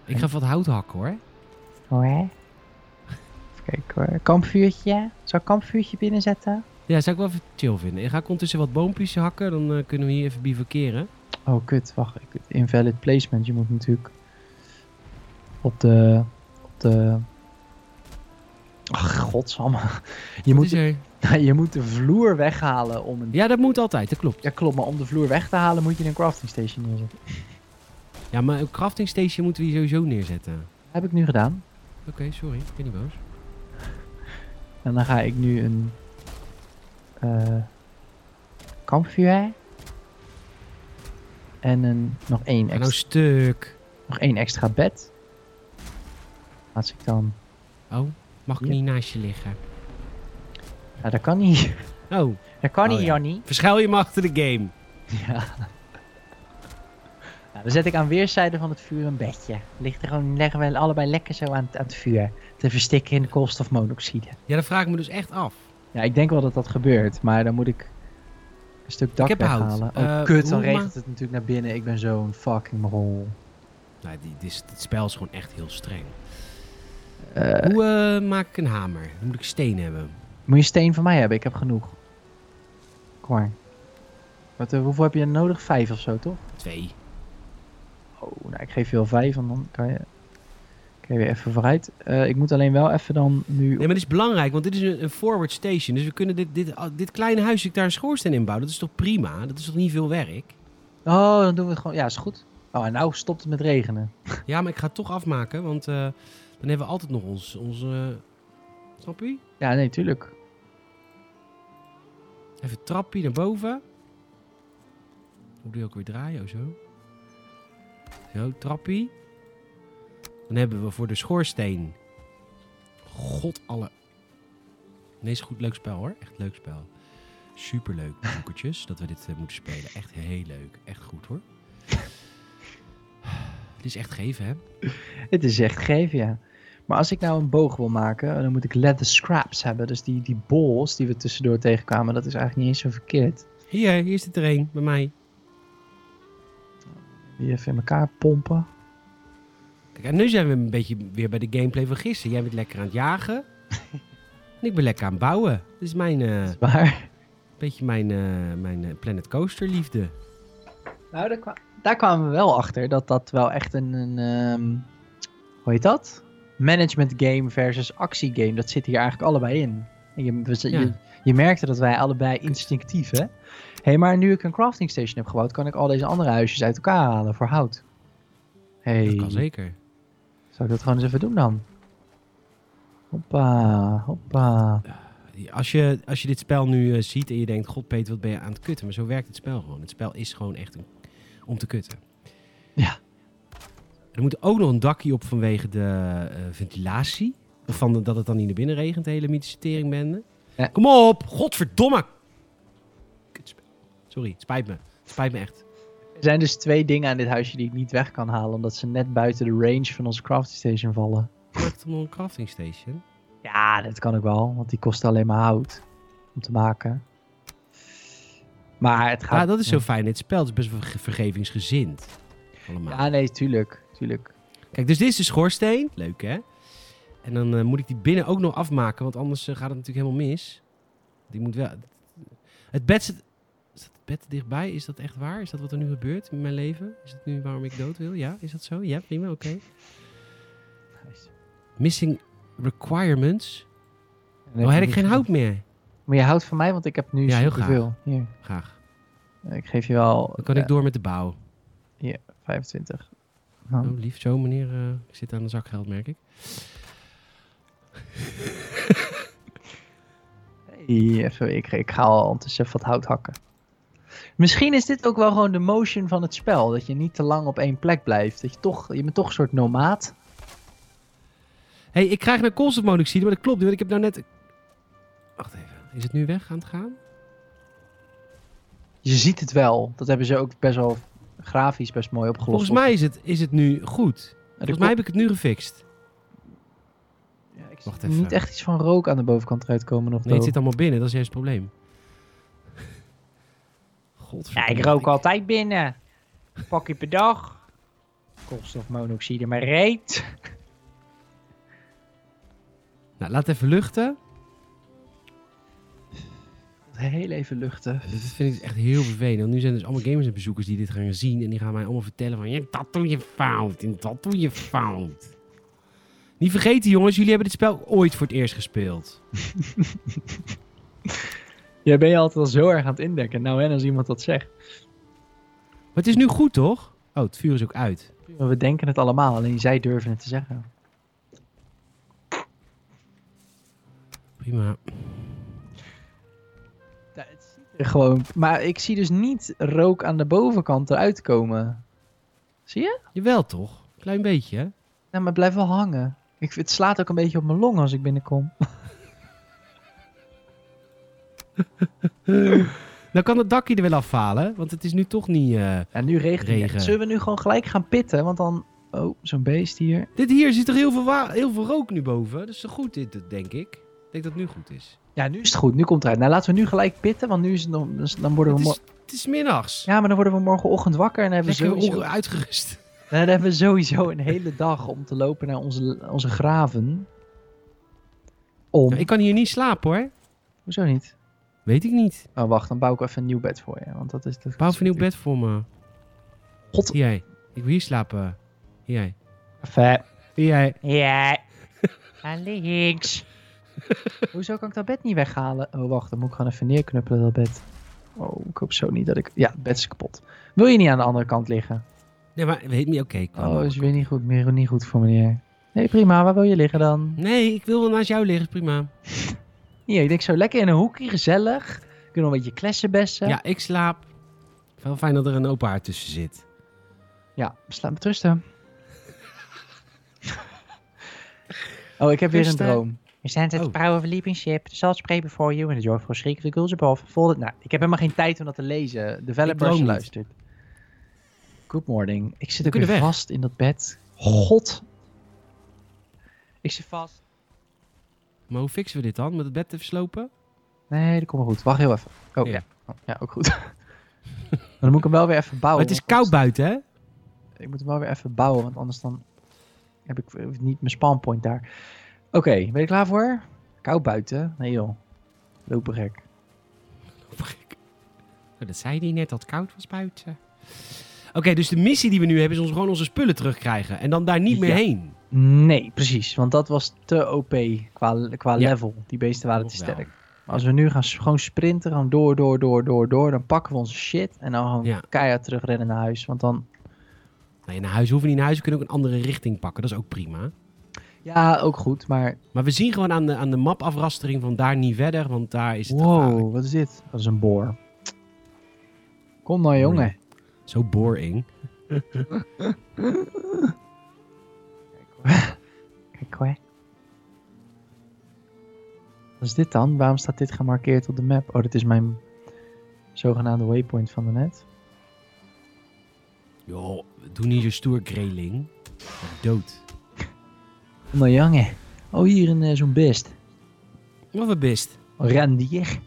Speaker 2: Ik ga even wat hout hakken hoor.
Speaker 1: Oh, hè? Even kijken hoor. Kampvuurtje. Zal ik kampvuurtje binnenzetten?
Speaker 2: Ja, zou ik wel even chill vinden. En ga ik ondertussen wat boompjes hakken, dan eh, kunnen we hier even bivakeren.
Speaker 1: Oh, kut. Wacht. Ik, invalid placement. Je moet natuurlijk... Op de... Op de... Ach, godsamme. [laughs] Je
Speaker 2: Wat
Speaker 1: moet
Speaker 2: is er?
Speaker 1: Nou, [laughs] je moet de vloer weghalen om een... Ja.
Speaker 2: Ja, dat moet altijd, dat klopt.
Speaker 1: klopt, maar om de vloer weg te halen moet je een crafting station neerzetten.
Speaker 2: Ja, maar een crafting station moeten we hier sowieso neerzetten.
Speaker 1: heb ik nu gedaan.
Speaker 2: Oké, sorry, ik ben niet boos.
Speaker 1: En dan ga ik nu een... eh kampvuur... En een, nog, één
Speaker 2: En nou
Speaker 1: extra,
Speaker 2: stuk.
Speaker 1: nog één extra bed. Als ik dan...
Speaker 2: Oh, mag ik
Speaker 1: Ja.
Speaker 2: niet naast je liggen?
Speaker 1: Ja, dat kan niet. [laughs]
Speaker 2: Oh,
Speaker 1: Dat kan
Speaker 2: Oh,
Speaker 1: niet,
Speaker 2: ja.
Speaker 1: Jannie.
Speaker 2: verschuil je me achter de game.
Speaker 1: Ja. Nou, dan zet ik aan weerszijden van het vuur een bedje. Ligt er gewoon, leggen we allebei lekker zo aan, het- aan het vuur. Te verstikken in de koolstofmonoxide.
Speaker 2: Ja, dat vraag ik me dus echt af.
Speaker 1: Ja, ik denk wel dat dat gebeurt, maar dan moet ik een stuk
Speaker 2: Ik
Speaker 1: dak
Speaker 2: heb hout.
Speaker 1: weghalen. Oh,
Speaker 2: Eh,
Speaker 1: kut, dan
Speaker 2: hoe ma-
Speaker 1: regent het natuurlijk naar binnen. Ik ben zo'n fucking rol.
Speaker 2: Nou, die, dit is- dit spel is gewoon echt heel streng.
Speaker 1: Eh.
Speaker 2: Hoe eh, maak ik een hamer? Dan moet ik steen hebben.
Speaker 1: Moet je steen van mij hebben? Ik heb genoeg. Kom maar. Wat, eh, hoeveel heb je nodig? Vijf of zo, toch?
Speaker 2: Twee.
Speaker 1: Oh, nou, ik geef je wel vijf, want dan kan je, kan je weer even vooruit. Eh, ik moet alleen wel even dan nu...
Speaker 2: Nee, maar dit is belangrijk, want dit is een, een forward station. Dus we kunnen dit, dit, ah, dit kleine huisje, daar een schoorsteen in bouwen. Dat is toch prima? Dat is toch niet veel werk?
Speaker 1: Oh, dan doen we het gewoon... Ja, is goed. Oh, en nou stopt het met regenen.
Speaker 2: Ja, maar ik ga het toch afmaken, want eh, dan hebben we altijd nog ons... ons eh, snap je?
Speaker 1: Ja, nee, tuurlijk.
Speaker 2: Even een trapje naar boven. Hoe doe je ook weer draaien? Oh, zo. Zo, trappie. Dan hebben we voor de schoorsteen. God alle. Nee, is een goed leuk spel hoor. Echt leuk spel. Superleuk, [laughs] die boekertjes, dat we dit eh, moeten spelen. Echt heel leuk. Echt goed hoor. Het is echt geven, hè?
Speaker 1: Het is echt geven, ja. Maar als ik nou een boog wil maken, dan moet ik leather scraps hebben. Dus die, die bols die we tussendoor tegenkwamen, dat is eigenlijk niet eens zo verkeerd.
Speaker 2: Hier, hier zit er een bij mij.
Speaker 1: Die even in elkaar pompen.
Speaker 2: Kijk, en nu zijn we een beetje weer bij de gameplay van gisteren. Jij bent lekker aan het jagen. en ik ben lekker aan het bouwen. Dit is mijn, eh,
Speaker 1: Maar
Speaker 2: beetje mijn, eh, mijn eh, Planet Coaster liefde.
Speaker 1: nou, daar, kwa- daar kwamen we wel achter dat dat wel echt een, een ehm, hoe heet dat? Management game versus actiegame. Dat zit hier eigenlijk allebei in. En Je, we-
Speaker 2: Ja.
Speaker 1: je, je merkte dat wij allebei instinctief, hè? Hé, maar nu ik een crafting station heb gebouwd, kan ik al deze andere huisjes uit elkaar halen voor hout. Hey.
Speaker 2: Dat kan zeker.
Speaker 1: Zou ik dat gewoon eens even doen dan? Hoppa, hoppa.
Speaker 2: Als je, als je dit spel nu eh, ziet en je denkt, god Peter, wat ben je aan het kutten. Maar zo werkt het spel gewoon. Het spel is gewoon echt een- om te kutten.
Speaker 1: Ja.
Speaker 2: Er moet ook nog een dakje op vanwege de eh, ventilatie. Of van de- dat het dan niet naar binnen regent, de hele mythische teringbende.
Speaker 1: Ja.
Speaker 2: Kom op, godverdomme. Kutspel. Sorry, het spijt me. Het spijt me echt.
Speaker 1: Er zijn dus twee dingen aan dit huisje die ik niet weg kan halen, omdat ze net buiten de range van onze crafting station vallen.
Speaker 2: Maakt het nog een crafting station?
Speaker 1: Ja, dat kan ik wel, want die kost alleen maar hout om te maken. Maar het gaat...
Speaker 2: Ja, Ah, dat is zo fijn. Dit spel is best wel verge- vergevingsgezind. Allemaal.
Speaker 1: Ja, nee, tuurlijk. tuurlijk.
Speaker 2: Kijk, dus dit is de schoorsteen. Leuk, hè? En dan eh, moet ik die binnen ook nog afmaken, want anders eh, gaat het natuurlijk helemaal mis. Die moet wel... Het bed zit... Is dat het bed dichtbij? Is dat echt waar? Is dat wat er nu gebeurt in mijn leven? Is dat nu waarom ik dood wil? Ja, is dat zo? Ja, prima, oké. Missing requirements.
Speaker 1: Dan
Speaker 2: Oh, heb ik geen hout meer.
Speaker 1: Maar je houdt van mij, want ik heb nu
Speaker 2: Ja, heel
Speaker 1: superveel. Hier,
Speaker 2: Graag.
Speaker 1: ik geef je wel
Speaker 2: Dan kan ik
Speaker 1: eh,
Speaker 2: door met de bouw.
Speaker 1: 25. Nou,
Speaker 2: Oh, lief zo, meneer. eh, ik zit aan de zak geld, merk ik.
Speaker 1: hey, even, ik, ik ga al ondertussen even wat hout hakken. Misschien is dit ook wel gewoon de motion van het spel. Dat je niet te lang op één plek blijft. Dat je toch, je bent toch een soort nomaat.
Speaker 2: hey, ik krijg naar koolstofmonoxide, maar dat klopt niet, want ik heb nou net... Wacht even, is het nu weg aan het gaan?
Speaker 1: Je ziet het wel. Dat hebben ze ook best wel grafisch best mooi opgelost.
Speaker 2: Volgens mij is het, is het nu goed. Volgens mij heb ik het nu gefixt.
Speaker 1: Ja, ik
Speaker 2: Wacht
Speaker 1: zie
Speaker 2: even.
Speaker 1: niet echt iets van rook aan de bovenkant eruit komen nog.
Speaker 2: Nee, het
Speaker 1: though.
Speaker 2: zit allemaal binnen, dat is juist het probleem. Godverdomme.
Speaker 1: altijd binnen. Pakje per dag. Koolstofmonoxide, maar reet.
Speaker 2: Nou, laat even luchten.
Speaker 1: Heel even luchten.
Speaker 2: Dat vind ik echt heel vervelend. Want nu zijn dus allemaal gamers en bezoekers die dit gaan zien. En die gaan mij allemaal vertellen van... Ja, dat doe je fout. En dat doe je fout. Niet vergeten jongens, jullie hebben dit spel ooit voor het eerst gespeeld.
Speaker 1: Jij ben je altijd al zo erg aan het indekken. Nou, en als iemand dat zegt.
Speaker 2: Maar het is nu goed, toch? Oh, het vuur is ook uit.
Speaker 1: Maar we denken het allemaal, alleen zij durven het te zeggen.
Speaker 2: Prima.
Speaker 1: Gewoon, maar ik zie dus niet rook aan de bovenkant eruit komen. Zie je?
Speaker 2: Jawel toch? Klein beetje, hè?
Speaker 1: Nou, maar het blijft wel hangen. Ik, het slaat ook een beetje op mijn long als ik binnenkom.
Speaker 2: Nou kan het dakje er wel afhalen, want het is nu toch niet... eh,
Speaker 1: En nu regent het.
Speaker 2: Regen.
Speaker 1: echt. Zullen we nu gewoon gelijk gaan pitten? Want dan... Oh, zo'n beest hier.
Speaker 2: Dit hier zit toch heel veel, wa- heel veel rook nu boven? Dus zo goed dit, dit, denk ik. Ik denk dat het nu goed is.
Speaker 1: Ja, nu is het goed. Nu komt het eruit. Nou, laten we nu gelijk pitten, want nu is het nog, dus dan worden we...
Speaker 2: Het
Speaker 1: mo-
Speaker 2: is, het is middags.
Speaker 1: Ja, maar dan worden we morgenochtend wakker en dan hebben, we
Speaker 2: Lekker
Speaker 1: sowieso,
Speaker 2: onge- uitgerust.
Speaker 1: dan hebben we sowieso een hele dag om te lopen naar onze, onze graven. Om...
Speaker 2: Ja, ik kan hier niet slapen hoor.
Speaker 1: Hoezo niet?
Speaker 2: Weet ik niet.
Speaker 1: Oh, wacht, dan bouw ik even een nieuw bed voor je. Want dat is de...
Speaker 2: Bouw even een nieuw bed voor me.
Speaker 1: God.
Speaker 2: Hier jij. Ik wil hier slapen. Hier jij.
Speaker 1: Vet.
Speaker 2: Hier jij.
Speaker 1: Ja. Aan links. Hoezo kan ik dat bed niet weghalen? Oh, wacht, dan moet ik gewoon even neerknuppelen dat bed. Oh, ik hoop zo niet dat ik... Ja, het bed is kapot. Wil je niet aan de andere kant liggen?
Speaker 2: Nee, maar weet niet. Oké, kwam.
Speaker 1: Oh, is weer niet goed, meer niet goed voor meneer. Nee, prima, waar wil je liggen dan?
Speaker 2: Nee, ik wil wel naast jou liggen, is prima.
Speaker 1: Hier, ik denk zo lekker in een hoekje, gezellig. Kunnen we een beetje klessenbessen.
Speaker 2: Ja, ik slaap. Wel fijn dat er een open haard tussen zit.
Speaker 1: Ja, slaap met rusten. [laughs] oh, ik heb weer een
Speaker 2: Rusten.
Speaker 1: droom. We zijn het
Speaker 2: Oh.
Speaker 1: power of leaping ship, the salt spray before you, and the joyful shriek of the ghouls above. Folded. Nou, ik heb helemaal geen tijd om dat te lezen.
Speaker 2: Ik
Speaker 1: Developers
Speaker 2: droom niet.
Speaker 1: luistert. Good morning. Ik zit ook weer
Speaker 2: kunnen weg.
Speaker 1: vast in dat bed. God. Ik zit vast.
Speaker 2: Maar hoe fixen we dit dan? Met het bed te
Speaker 1: Oh,
Speaker 2: verslopen?
Speaker 1: Nee, dat komt wel goed. Wacht heel even. Oh,
Speaker 2: Ja.
Speaker 1: ja. Oh, ja, ook goed. [laughs] maar dan moet ik hem wel weer even
Speaker 2: Maar
Speaker 1: bouwen.
Speaker 2: het is
Speaker 1: want anders-
Speaker 2: koud buiten, hè?
Speaker 1: Ik moet hem wel weer even bouwen, want anders dan heb ik eh, niet mijn spawnpoint daar. Oké, ben je klaar voor? Koud buiten? Nee joh. Lopen gek.
Speaker 2: Oh, Dat zei hij net, dat het koud was buiten. Oké, dus de missie die we nu hebben is ons gewoon onze spullen terugkrijgen. En dan daar niet meer
Speaker 1: Ja.
Speaker 2: heen.
Speaker 1: Nee, precies. Want dat was te OP qua, qua
Speaker 2: Ja.
Speaker 1: level. Die beesten waren te
Speaker 2: Nog wel.
Speaker 1: sterk. Maar als we nu gaan s- gewoon sprinten, gewoon door, door, door, door, door. Dan pakken we onze shit en dan gewoon
Speaker 2: Ja.
Speaker 1: keihard terugrennen naar huis. Want dan...
Speaker 2: Nee, Nou, naar huis hoeven we niet naar huis. We kunnen ook een andere richting pakken. Dat is ook prima.
Speaker 1: Ja, ook goed, maar...
Speaker 2: Maar we zien gewoon aan de, aan de mapafrastering van daar niet verder. Want daar is het gevaarlijk.
Speaker 1: Wow, wat is dit? Dat is een boor. Kom nou jongen.
Speaker 2: Zo boring.
Speaker 1: Kijk hoor. Wat is dit dan? Waarom staat dit gemarkeerd op de map? Oh, dit is mijn zogenaamde waypoint van daarnet.
Speaker 2: Joh, doe niet zo stoer, Greyling. Dood.
Speaker 1: Nou jongen. Oh, hier een eh, zo'n beest.
Speaker 2: Wat een best.
Speaker 1: Een rendier.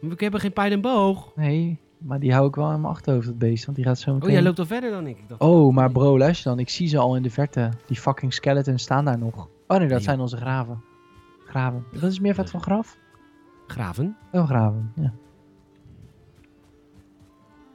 Speaker 2: We hebben geen pijl en boog.
Speaker 1: Nee, maar die hou ik wel in mijn achterhoofd, dat beest. Want die gaat zo meteen...
Speaker 2: Oh, jij loopt al verder dan ik. ik dacht,
Speaker 1: Oh, maar bro, luister dan. Ik zie ze al in de verte. Die fucking skeletons staan daar nog. Oh nee, dat
Speaker 2: Nee.
Speaker 1: zijn onze graven. Graven. Dat is meer vet van graf?
Speaker 2: Graven?
Speaker 1: Oh, graven, ja.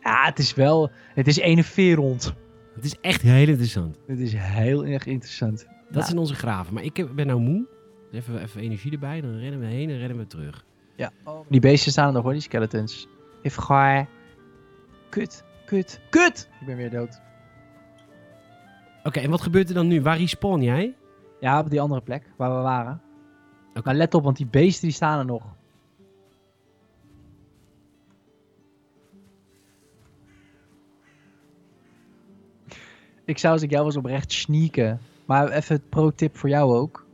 Speaker 1: Ja, het is wel... Het is ene verond.
Speaker 2: Het is echt heel interessant.
Speaker 1: Het is heel erg interessant.
Speaker 2: Dat
Speaker 1: Ja.
Speaker 2: zijn onze graven. Maar ik heb- ben nou moe. Dus Even, even energie erbij. Dan rennen we heen en rennen we terug.
Speaker 1: Ja. Die beesten staan er nog hoor, die skeletons. Even gaar. Kut, kut, kut! Ik ben weer dood.
Speaker 2: Oké, en wat gebeurt er dan nu? Waar respawn jij?
Speaker 1: Ja, op die andere plek waar we waren.
Speaker 2: Oké.
Speaker 1: Maar let op, want die beesten die staan er nog. Ik zou als ik jou was oprecht sneaken. Maar even het pro-tip voor jou ook.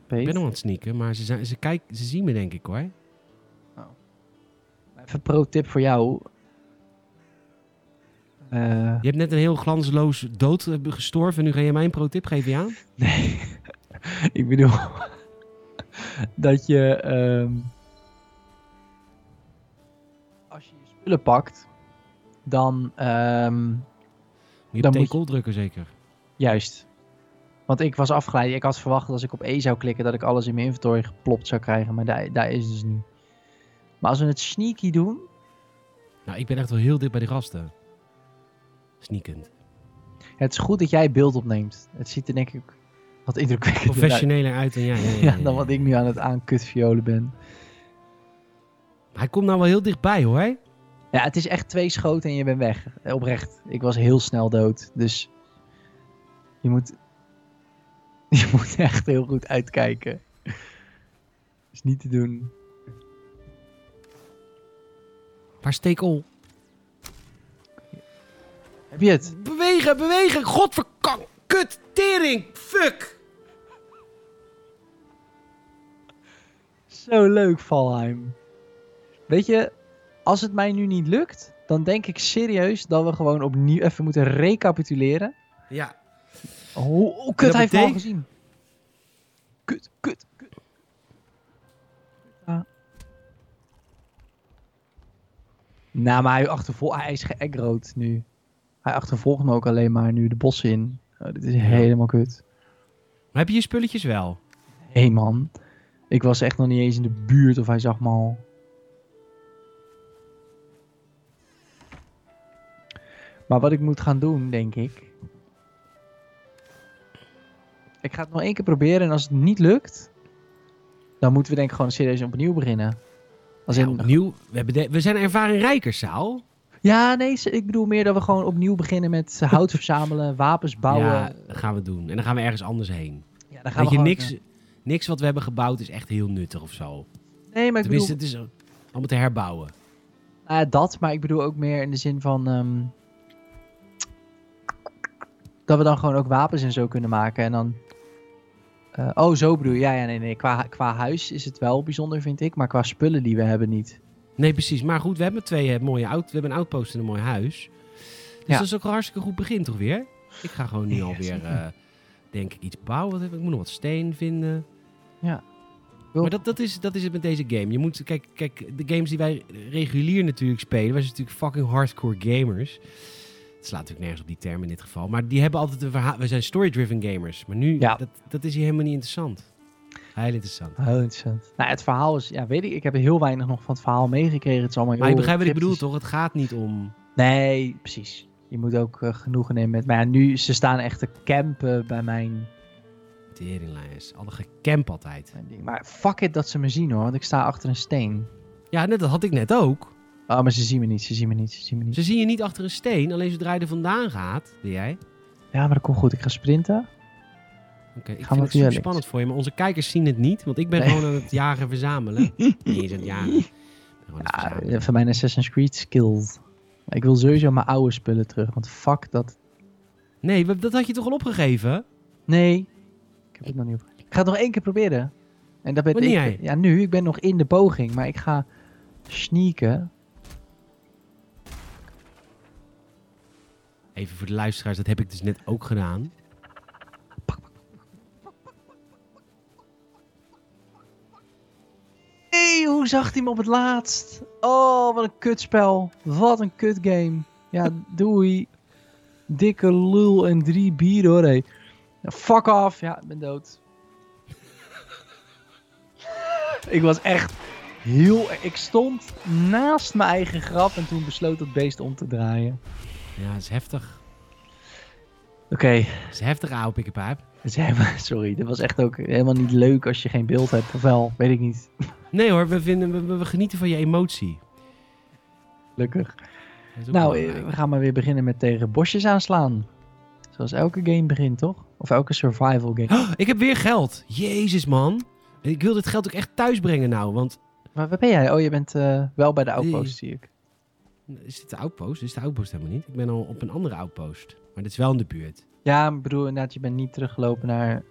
Speaker 2: Ik
Speaker 1: Peet.
Speaker 2: ben nog aan het sneaken, maar ze, zijn, ze, kijken, ze zien me denk ik hoor.
Speaker 1: Even pro-tip voor jou. Eh,
Speaker 2: Je hebt net een heel glansloos dood eh, gestorven. Nu ga je mij een pro-tip geven, ja?
Speaker 1: nee. ik bedoel... [laughs] dat je... ehm, als je je spullen pakt... Dan... ehm,
Speaker 2: Je
Speaker 1: Dan
Speaker 2: hebt
Speaker 1: moet
Speaker 2: tackle drukken zeker.
Speaker 1: Juist. Want ik was afgeleid. Ik had verwacht dat als ik op E zou klikken dat ik alles in mijn inventory geplopt zou krijgen. Maar daar, daar is het dus niet. Maar als we het sneaky doen.
Speaker 2: Nou, ik ben echt wel heel dicht bij die gasten.
Speaker 1: [laughs]
Speaker 2: Sneakend.
Speaker 1: Het is goed dat jij beeld opneemt. Het ziet er denk ik wat indrukwekkender uit.
Speaker 2: Professioneler uit dan jij. Ja, ja, ja,
Speaker 1: [laughs] Ja,
Speaker 2: ja.
Speaker 1: dan wat ik nu aan het aankutviolen ben.
Speaker 2: Hij komt nou wel heel dichtbij hoor.
Speaker 1: Ja, het is echt twee schoten en je bent weg. Eh, Oprecht. Ik was heel snel dood. Dus je moet, [laughs] je moet echt heel goed uitkijken. Is niet te doen.
Speaker 2: Waar steek al?
Speaker 1: Heb je het?
Speaker 2: Bewegen, bewegen. Godverkak. Kut. Tering. Fuck.
Speaker 1: Zo leuk, Valheim. Weet je, als het mij nu niet lukt, dan denk ik serieus dat we gewoon opnieuw even moeten recapituleren.
Speaker 2: Ja.
Speaker 1: Hoe oh, kut,
Speaker 2: dat
Speaker 1: hij heeft me al
Speaker 2: betekent-
Speaker 1: gezien. Kut, kut, kut. Ja. Nou, maar hij, achtervol hij is geaggroot nu. Hij achtervolgt me ook alleen maar nu de bossen in. Oh, dit is helemaal kut.
Speaker 2: Maar heb je je spulletjes wel?
Speaker 1: Hé hey man, ik was echt nog niet eens in de buurt of hij zag me al. Maar wat ik moet gaan doen, denk ik. Ik ga het nog één keer proberen en als het niet lukt, dan moeten we denk ik gewoon serieus opnieuw beginnen. Als
Speaker 2: Ja,
Speaker 1: in,
Speaker 2: opnieuw. We, hebben de- we zijn ervaren rijkers, Saal.
Speaker 1: ja, nee, ze- ik bedoel meer dat we gewoon opnieuw beginnen met hout verzamelen, wapens bouwen.
Speaker 2: Ja, dat gaan we doen. En dan gaan we ergens anders heen.
Speaker 1: Ja, dan
Speaker 2: Weet je,
Speaker 1: gewoon-
Speaker 2: niks, niks wat we hebben gebouwd is echt heel nuttig of zo.
Speaker 1: Nee, maar ik bedoel,
Speaker 2: Tenminste, het is eh, allemaal te herbouwen.
Speaker 1: Nou ja, dat, maar ik bedoel ook meer in de zin van. ehm, dat we dan gewoon ook wapens en zo kunnen maken. En dan. eh, oh, zo bedoel je. Ja, ja, nee, nee. Qua, qua huis is het wel bijzonder, vind ik. Maar qua spullen die we hebben, niet.
Speaker 2: Nee, precies. Maar goed, we hebben twee eh, mooie out we hebben een outpost en een mooi huis. Dus
Speaker 1: Ja.
Speaker 2: dat is ook een hartstikke goed begin, toch weer? Ik ga gewoon nu
Speaker 1: Ja,
Speaker 2: alweer,
Speaker 1: zeker.
Speaker 2: eh, denk ik, iets bouwen. Wat heb ik? ik moet nog wat steen vinden.
Speaker 1: Ja.
Speaker 2: Maar dat, dat, is, dat is het met deze game. Je moet, kijk, kijk, de games die wij regulier natuurlijk spelen, wij zijn natuurlijk fucking hardcore gamers. Het slaat natuurlijk nergens op die term in dit geval. Maar die hebben altijd een verhaal. We zijn story-driven gamers. Maar nu,
Speaker 1: Ja.
Speaker 2: dat, dat is hier helemaal niet interessant. Heel Oh, interessant.
Speaker 1: Heel interessant. Nou, het verhaal is. Ja, weet ik. Ik heb heel weinig nog van het verhaal meegekregen. Het is allemaal.
Speaker 2: Maar je
Speaker 1: heel
Speaker 2: begrijpt wat ik bedoel,
Speaker 1: cryptisch.
Speaker 2: toch? Het gaat niet om...
Speaker 1: Nee, precies. Je moet ook eh, genoegen nemen met. Maar ja, nu. Ze staan echt te campen bij mijn,
Speaker 2: Teringlijst. Alle gecamp altijd.
Speaker 1: mijn ding. Maar fuck it dat ze me zien hoor. Want ik sta achter een steen.
Speaker 2: Ja, net, dat had ik net ook.
Speaker 1: Oh, maar ze zien me niet. Ze zien me niet. Ze zien me niet.
Speaker 2: Ze zien je niet achter een steen, alleen zodra je er vandaan gaat, ben jij.
Speaker 1: Ja, maar dat komt goed. Ik ga sprinten.
Speaker 2: Oké, ik
Speaker 1: Gaan
Speaker 2: vind
Speaker 1: we
Speaker 2: het super
Speaker 1: direct.
Speaker 2: spannend voor je, maar onze kijkers zien het niet, want ik ben
Speaker 1: Nee.
Speaker 2: gewoon aan het
Speaker 1: [laughs]
Speaker 2: jagen en verzamelen. Nee, je bent jagen. Ik ben gewoon aan het
Speaker 1: Ja,
Speaker 2: verzamelen.
Speaker 1: even mijn Assassin's Creed skills. Maar ik wil sowieso mijn oude spullen terug, want fuck dat.
Speaker 2: Nee, we- dat had je toch al opgegeven?
Speaker 1: Nee, ik heb het nog niet op. Ik ga het nog één keer proberen. En dat ben
Speaker 2: Wanneer jij?
Speaker 1: ik. Ja, nu. Ik ben nog in de poging, maar ik ga sneaken.
Speaker 2: Even voor de luisteraars, dat heb ik dus net ook gedaan.
Speaker 1: Nee, hoe zag hij me op het laatst? Oh, wat een kutspel. Wat een kutgame. Ja, doei. Dikke lul en drie bier hoor, hé. Ja, fuck off. Ja, ik ben dood. [laughs] ik was echt heel... Ik stond naast mijn eigen grap en toen besloot dat beest om te draaien.
Speaker 2: Ja, dat is heftig.
Speaker 1: Oké, [laughs]
Speaker 2: Dat is heftig, ouwe pikkenpijp.
Speaker 1: sorry. Dat was echt ook helemaal niet leuk als je geen beeld hebt. Of wel, weet ik niet.
Speaker 2: Nee hoor, we, vinden, we- we, we genieten van je emotie.
Speaker 1: Gelukkig.
Speaker 2: Dat is ook
Speaker 1: Nou, eh,
Speaker 2: belangrijk.
Speaker 1: we gaan maar weer beginnen met tegen bosjes aanslaan. Zoals elke game begint, toch? Of elke survival game.
Speaker 2: [gasps] Oh, ik heb weer geld. Jezus, man. Ik wil dit geld ook echt thuis brengen nou, want...
Speaker 1: Maar waar ben jij? Oh, je bent eh, wel bij de outpost, zie ik.
Speaker 2: Is dit de outpost? Is de outpost helemaal niet? Ik ben al op een andere outpost. Maar dat is wel in de buurt.
Speaker 1: Ja, ik bedoel inderdaad, je bent niet teruggelopen naar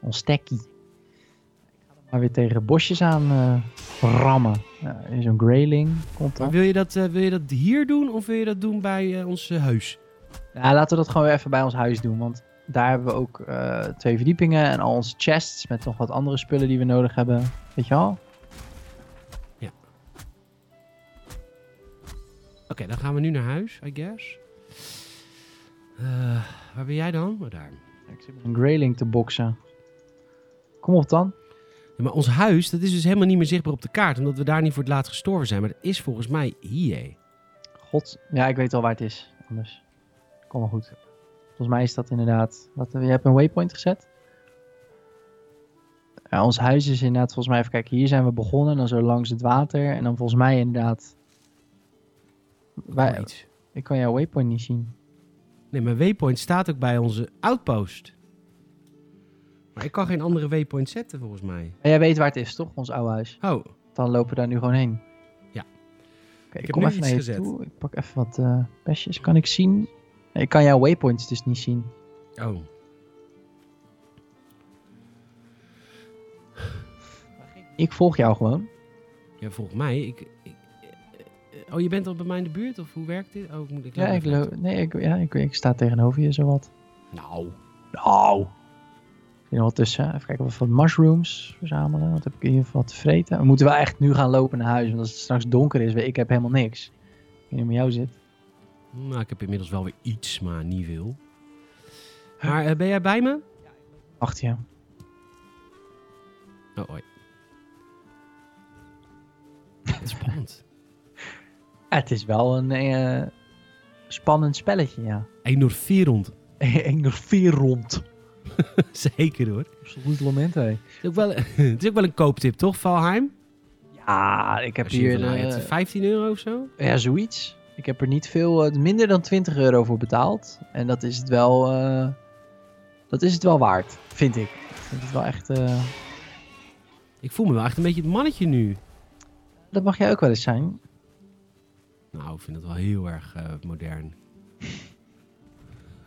Speaker 1: ons tekkie. Ik ga er maar weer tegen bosjes aan eh, rammen. Ja, er is een grayling, komt
Speaker 2: Maar
Speaker 1: dan.
Speaker 2: wil je dat, eh, wil je dat hier doen of wil je dat doen bij eh, ons eh, huis?
Speaker 1: Ja, laten we dat gewoon weer even bij ons huis doen, want daar hebben we ook eh, twee verdiepingen en al onze chests met nog wat andere spullen die we nodig hebben. Weet je wel?
Speaker 2: Oké, dan gaan we nu naar huis, I guess. Eh, waar ben jij dan? Oh, daar.
Speaker 1: Ik zit met een grayling te boksen. Kom op dan.
Speaker 2: Ja, maar ons huis, dat is dus helemaal niet meer zichtbaar op de kaart, omdat we daar niet voor het laatst gestorven zijn. Maar dat is volgens mij hier.
Speaker 1: God, ja, ik weet al waar het is. Anders. Kom maar goed. Volgens mij is dat inderdaad. Wat, je hebt een waypoint gezet. Ja, ons huis is inderdaad, volgens mij, even kijken, hier zijn we begonnen. Dan zo langs het water. En dan volgens mij inderdaad.
Speaker 2: Oh,
Speaker 1: Wij,
Speaker 2: iets.
Speaker 1: ik kan jouw waypoint niet zien.
Speaker 2: Nee, mijn waypoint staat ook bij onze outpost. Maar ik kan geen andere waypoint zetten, volgens mij.
Speaker 1: Maar jij weet waar het is, toch? Ons oude huis.
Speaker 2: Oh,
Speaker 1: Dan lopen we daar nu gewoon heen.
Speaker 2: Ja.
Speaker 1: Oké, ik
Speaker 2: heb
Speaker 1: kom
Speaker 2: nu
Speaker 1: even naar je
Speaker 2: iets gezet.
Speaker 1: toe. Ik pak even wat eh besjes. Kan ik zien? Nee, ik kan jouw waypoints dus niet zien.
Speaker 2: oh.
Speaker 1: Ik volg jou gewoon.
Speaker 2: Ja, volgens mij. Ik, ik- eh, oh, je bent al bij mij in de buurt? Of hoe werkt dit? Oh, moet ik
Speaker 1: Ja, ik,
Speaker 2: even-
Speaker 1: lo- nee, ik, ja ik, ik sta tegenover je zowat.
Speaker 2: Nou,
Speaker 1: Nou. Ik zit er wel tussen. Even kijken of we wat mushrooms verzamelen. Wat heb ik in ieder geval te vreten? We moeten wel echt nu gaan lopen naar huis. Want als het straks donker is, weet ik heb helemaal niks. Ik weet niet hoe het met jou zit.
Speaker 2: nou, ik heb inmiddels wel weer iets, maar niet veel. Maar eh, ben jij bij me?
Speaker 1: Achter je. [laughs]
Speaker 2: Oh, hoi. Spannend.
Speaker 1: Ja, het is wel een eh, spannend spelletje, [laughs] ja.
Speaker 2: Enorverend.
Speaker 1: Enerverend.
Speaker 2: [laughs] Zeker hoor.
Speaker 1: Absoluut moment, hé.
Speaker 2: Het is, ook wel, [laughs] het is ook wel een kooptip, toch, Valheim?
Speaker 1: Ja, ik heb
Speaker 2: Als je hier
Speaker 1: hier...
Speaker 2: van, nou, je
Speaker 1: eh,
Speaker 2: hebt 15 euro of zo?
Speaker 1: Ja, zoiets. Ik heb er niet veel, eh, minder dan 20 euro voor betaald. En dat is het wel, eh, dat is het wel waard, vind ik. Ik vind het wel echt, eh,
Speaker 2: Ik voel me wel echt een beetje het mannetje nu.
Speaker 1: dat mag jij ook wel eens zijn.
Speaker 2: Nou, ik vind het wel heel erg eh, modern.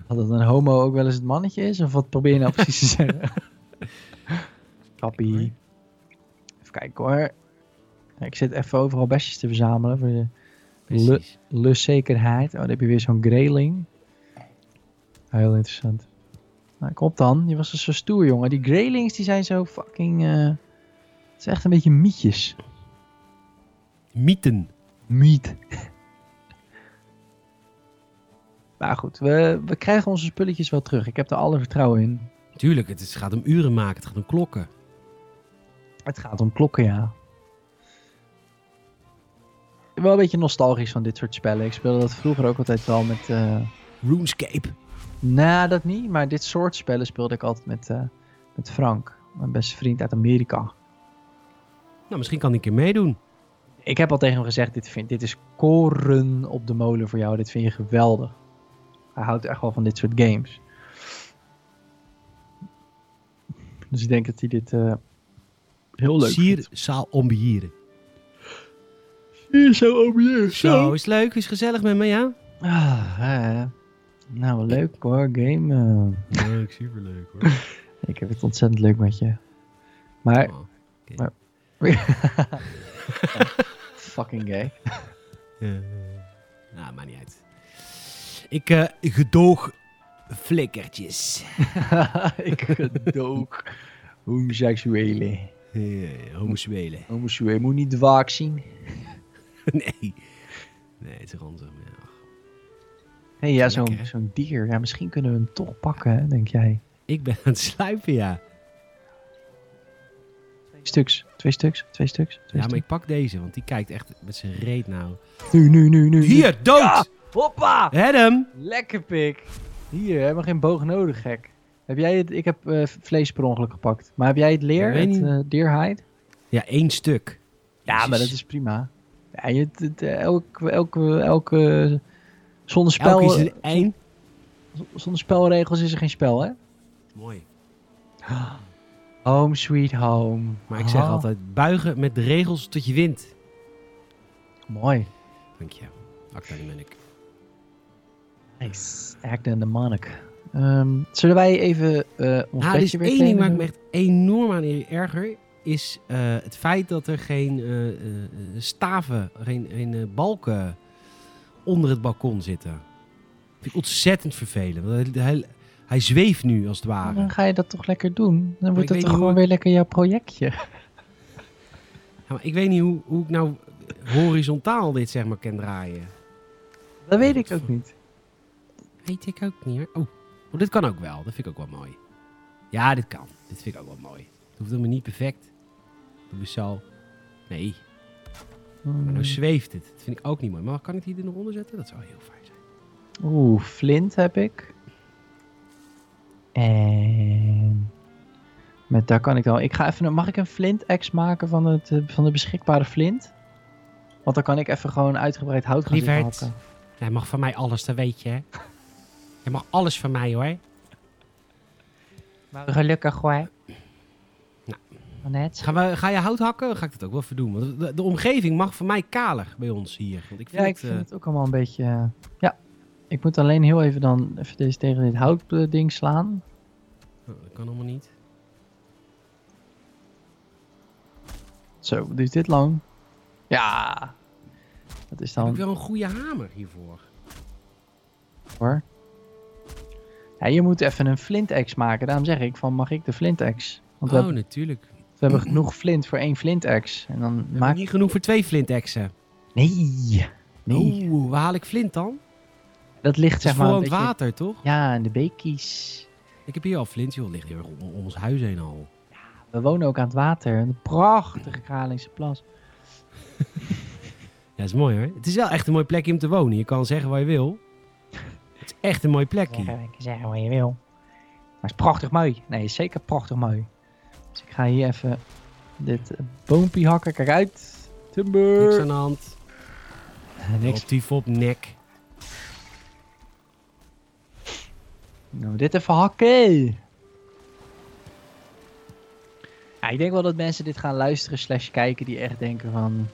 Speaker 1: Dat een homo ook wel eens het mannetje is, of wat probeer je nou precies te zeggen?
Speaker 2: Kijk
Speaker 1: Kappie. Even kijken hoor. Ja, Ik zit even overal bestjes te verzamelen voor de
Speaker 2: Precies.
Speaker 1: lustzekerheid. Oh, dan heb je weer zo'n grayling. Heel interessant. Nou, kom op dan. Je was dus zo stoer, jongen. Die graylings die zijn zo fucking... eh, het is echt een beetje mietjes.
Speaker 2: Mythen.
Speaker 1: Miet. [laughs] maar goed, we, we krijgen onze spulletjes wel terug. Ik heb er alle vertrouwen in.
Speaker 2: Tuurlijk, het is- gaat om uren maken, het gaat om klokken.
Speaker 1: Het gaat om klokken, ja. Wel een beetje nostalgisch van dit soort spellen. Ik speelde dat vroeger ook altijd wel met... eh,
Speaker 2: RuneScape.
Speaker 1: Nou, dat niet. Maar dit soort spellen speelde ik altijd met, eh, met Frank. Mijn beste vriend uit Amerika.
Speaker 2: Nou, misschien kan ik een keer meedoen.
Speaker 1: Ik heb al tegen hem gezegd, dit, vind, dit is koren op de molen voor jou. Dit vind je geweldig. Hij houdt echt wel van dit soort games. Dus ik denk dat hij dit eh, heel leuk
Speaker 2: Sier
Speaker 1: vindt.
Speaker 2: Saal Ombieren.
Speaker 1: Hier is zo obieus.
Speaker 2: Zo, is leuk, is gezellig met me, ja?
Speaker 1: Ah, eh, nou, leuk hoor, game. eh,
Speaker 2: Leuk, superleuk hoor.
Speaker 1: [laughs] ik heb het ontzettend leuk met je. Maar,
Speaker 2: Oh.
Speaker 1: fucking gay.
Speaker 2: nou, maakt niet uit. Ik eh, gedoog flikkertjes.
Speaker 1: [laughs] ik gedoog homoseksuele.
Speaker 2: Eh, homoseksuelen.
Speaker 1: Homoseksuele moet niet vaak zien.
Speaker 2: nee. Nee, het is ranzig. maar ja.
Speaker 1: hey, ja,
Speaker 2: Lekker,
Speaker 1: zo'n
Speaker 2: hè?
Speaker 1: zo'n dier. Ja, misschien kunnen we hem toch pakken, hè, denk jij.
Speaker 2: Ik ben aan het sluipen, ja.
Speaker 1: Twee stuks, twee stuks, twee stuks. Twee
Speaker 2: Ja, maar ik pak deze, want die kijkt echt met zijn reet nou.
Speaker 1: stuks. Nu, nu, nu, nu. nu.
Speaker 2: Hier, dood!
Speaker 1: Ja! Hoppa!
Speaker 2: Adam!
Speaker 1: Lekker pik. Hier, hebben we geen boog nodig, gek. Heb jij het? Ik heb eh, vlees per ongeluk gepakt. Maar heb jij het leer?
Speaker 2: Ik weet
Speaker 1: Het
Speaker 2: niet.
Speaker 1: eh, deerhide?
Speaker 2: Ja, één stuk.
Speaker 1: Ja, maar dat
Speaker 2: Jezus.
Speaker 1: is prima. Ja, je, het- het, eh, elke, elke, elke, zonder,
Speaker 2: Elk
Speaker 1: spel, eh,
Speaker 2: is een één.
Speaker 1: zonder spelregels is er geen spel, hè?
Speaker 2: Mooi.
Speaker 1: [gasps] Home sweet home.
Speaker 2: Maar ik zeg
Speaker 1: Ah,
Speaker 2: altijd, buigen met de regels tot je wint.
Speaker 1: Mooi.
Speaker 2: Dank je. Acta ben ik.
Speaker 1: Nice. Act and the Monarch. Ehm, zullen wij even eh ons
Speaker 2: Ah, er is
Speaker 1: bedje weer
Speaker 2: één ding waar ik
Speaker 1: claimen?
Speaker 2: me echt enorm aan erger, is eh, het feit dat er geen eh, eh, eh, staven, geen, geen eh, balken onder het balkon zitten. Vind ik ontzettend vervelend. want Hij, hij, hij zweeft nu, als het
Speaker 1: Nou,
Speaker 2: ware.
Speaker 1: Dan ga je dat toch lekker doen. Dan
Speaker 2: ik
Speaker 1: wordt het
Speaker 2: weet
Speaker 1: toch
Speaker 2: niet
Speaker 1: gewoon
Speaker 2: hoe
Speaker 1: weer lekker jouw projectje.
Speaker 2: [laughs] Ja, maar ik weet niet hoe, hoe ik nou horizontaal dit zeg maar kan draaien.
Speaker 1: Dat weet ik ook niet.
Speaker 2: Weet ik ook niet hoor. Oh, oh, dit kan ook wel. Dat vind ik ook wel mooi. Ja, dit kan. Dit vind ik ook wel mooi. Het hoeft helemaal niet perfect. Doe eens zo. Nee, maar nou zweeft het. Dat vind ik ook niet mooi. Maar kan ik die er nog onder zetten? Dat zou heel fijn zijn.
Speaker 1: Hmm. Oeh, flint heb ik. En met daar kan ik dan. Ik ga even. een- Mag ik een flint-ex maken van, het, eh, van de beschikbare flint? Want dan kan ik even gewoon uitgebreid hout gaan zitten
Speaker 2: Lieverd.
Speaker 1: hakken.
Speaker 2: Hij mag van mij alles, dat weet je hè. Hij mag alles van mij hoor.
Speaker 1: Maar gelukkig hoor.
Speaker 2: Nou.
Speaker 1: Net.
Speaker 2: Gaan we, ga je hout hakken? Ga ik dat ook wel verdoen. Want de, de omgeving mag voor mij kaler bij ons hier. Want ik vind
Speaker 1: Ja, ik
Speaker 2: het,
Speaker 1: vind
Speaker 2: eh,
Speaker 1: het ook allemaal een beetje. eh, ja, ik moet alleen heel even dan even deze tegen dit houtding ding slaan.
Speaker 2: oh, dat kan allemaal niet.
Speaker 1: Zo, duurt dit lang? Ja. Dat is
Speaker 2: Heb ik
Speaker 1: dan
Speaker 2: wel een goede hamer hiervoor.
Speaker 1: hoor. Ja, je moet even een flintex maken. Daarom zeg ik van mag ik de flintex? Want we,
Speaker 2: Oh,
Speaker 1: hebben-
Speaker 2: natuurlijk. We
Speaker 1: we hebben genoeg flint voor één flintex. En dan
Speaker 2: hebben
Speaker 1: maak
Speaker 2: niet genoeg voor twee flintexen.
Speaker 1: Nee. Nee.
Speaker 2: Oeh, waar haal ik flint dan?
Speaker 1: Dat ligt
Speaker 2: Oh, Het is
Speaker 1: zeg maar
Speaker 2: voor
Speaker 1: een
Speaker 2: aan het
Speaker 1: beetje...
Speaker 2: water, toch?
Speaker 1: Ja, en de beekjes.
Speaker 2: Ik heb hier al flint. Joh, ligt heel erg om, om ons huis heen al.
Speaker 1: We wonen ook aan het water. Een prachtige Kralingse plas.
Speaker 2: Ja, is mooi hoor. Het is wel echt een mooie plekje om te wonen. Je kan zeggen waar je wil. Het is echt een mooi plekje.
Speaker 1: Zeggen, je kan zeggen wat je wil. Maar het is prachtig mooi. Nee, is zeker prachtig mooi. Dus ik ga hier even dit eh, boompie hakken. Kijk uit.
Speaker 2: Niks
Speaker 1: Timber. Eh,
Speaker 2: aan de hand.
Speaker 1: Niks.
Speaker 2: Relatief op nek.
Speaker 1: Nou, dit even hakken. Ja, ik denk wel dat mensen dit gaan luisteren slash kijken die echt denken van...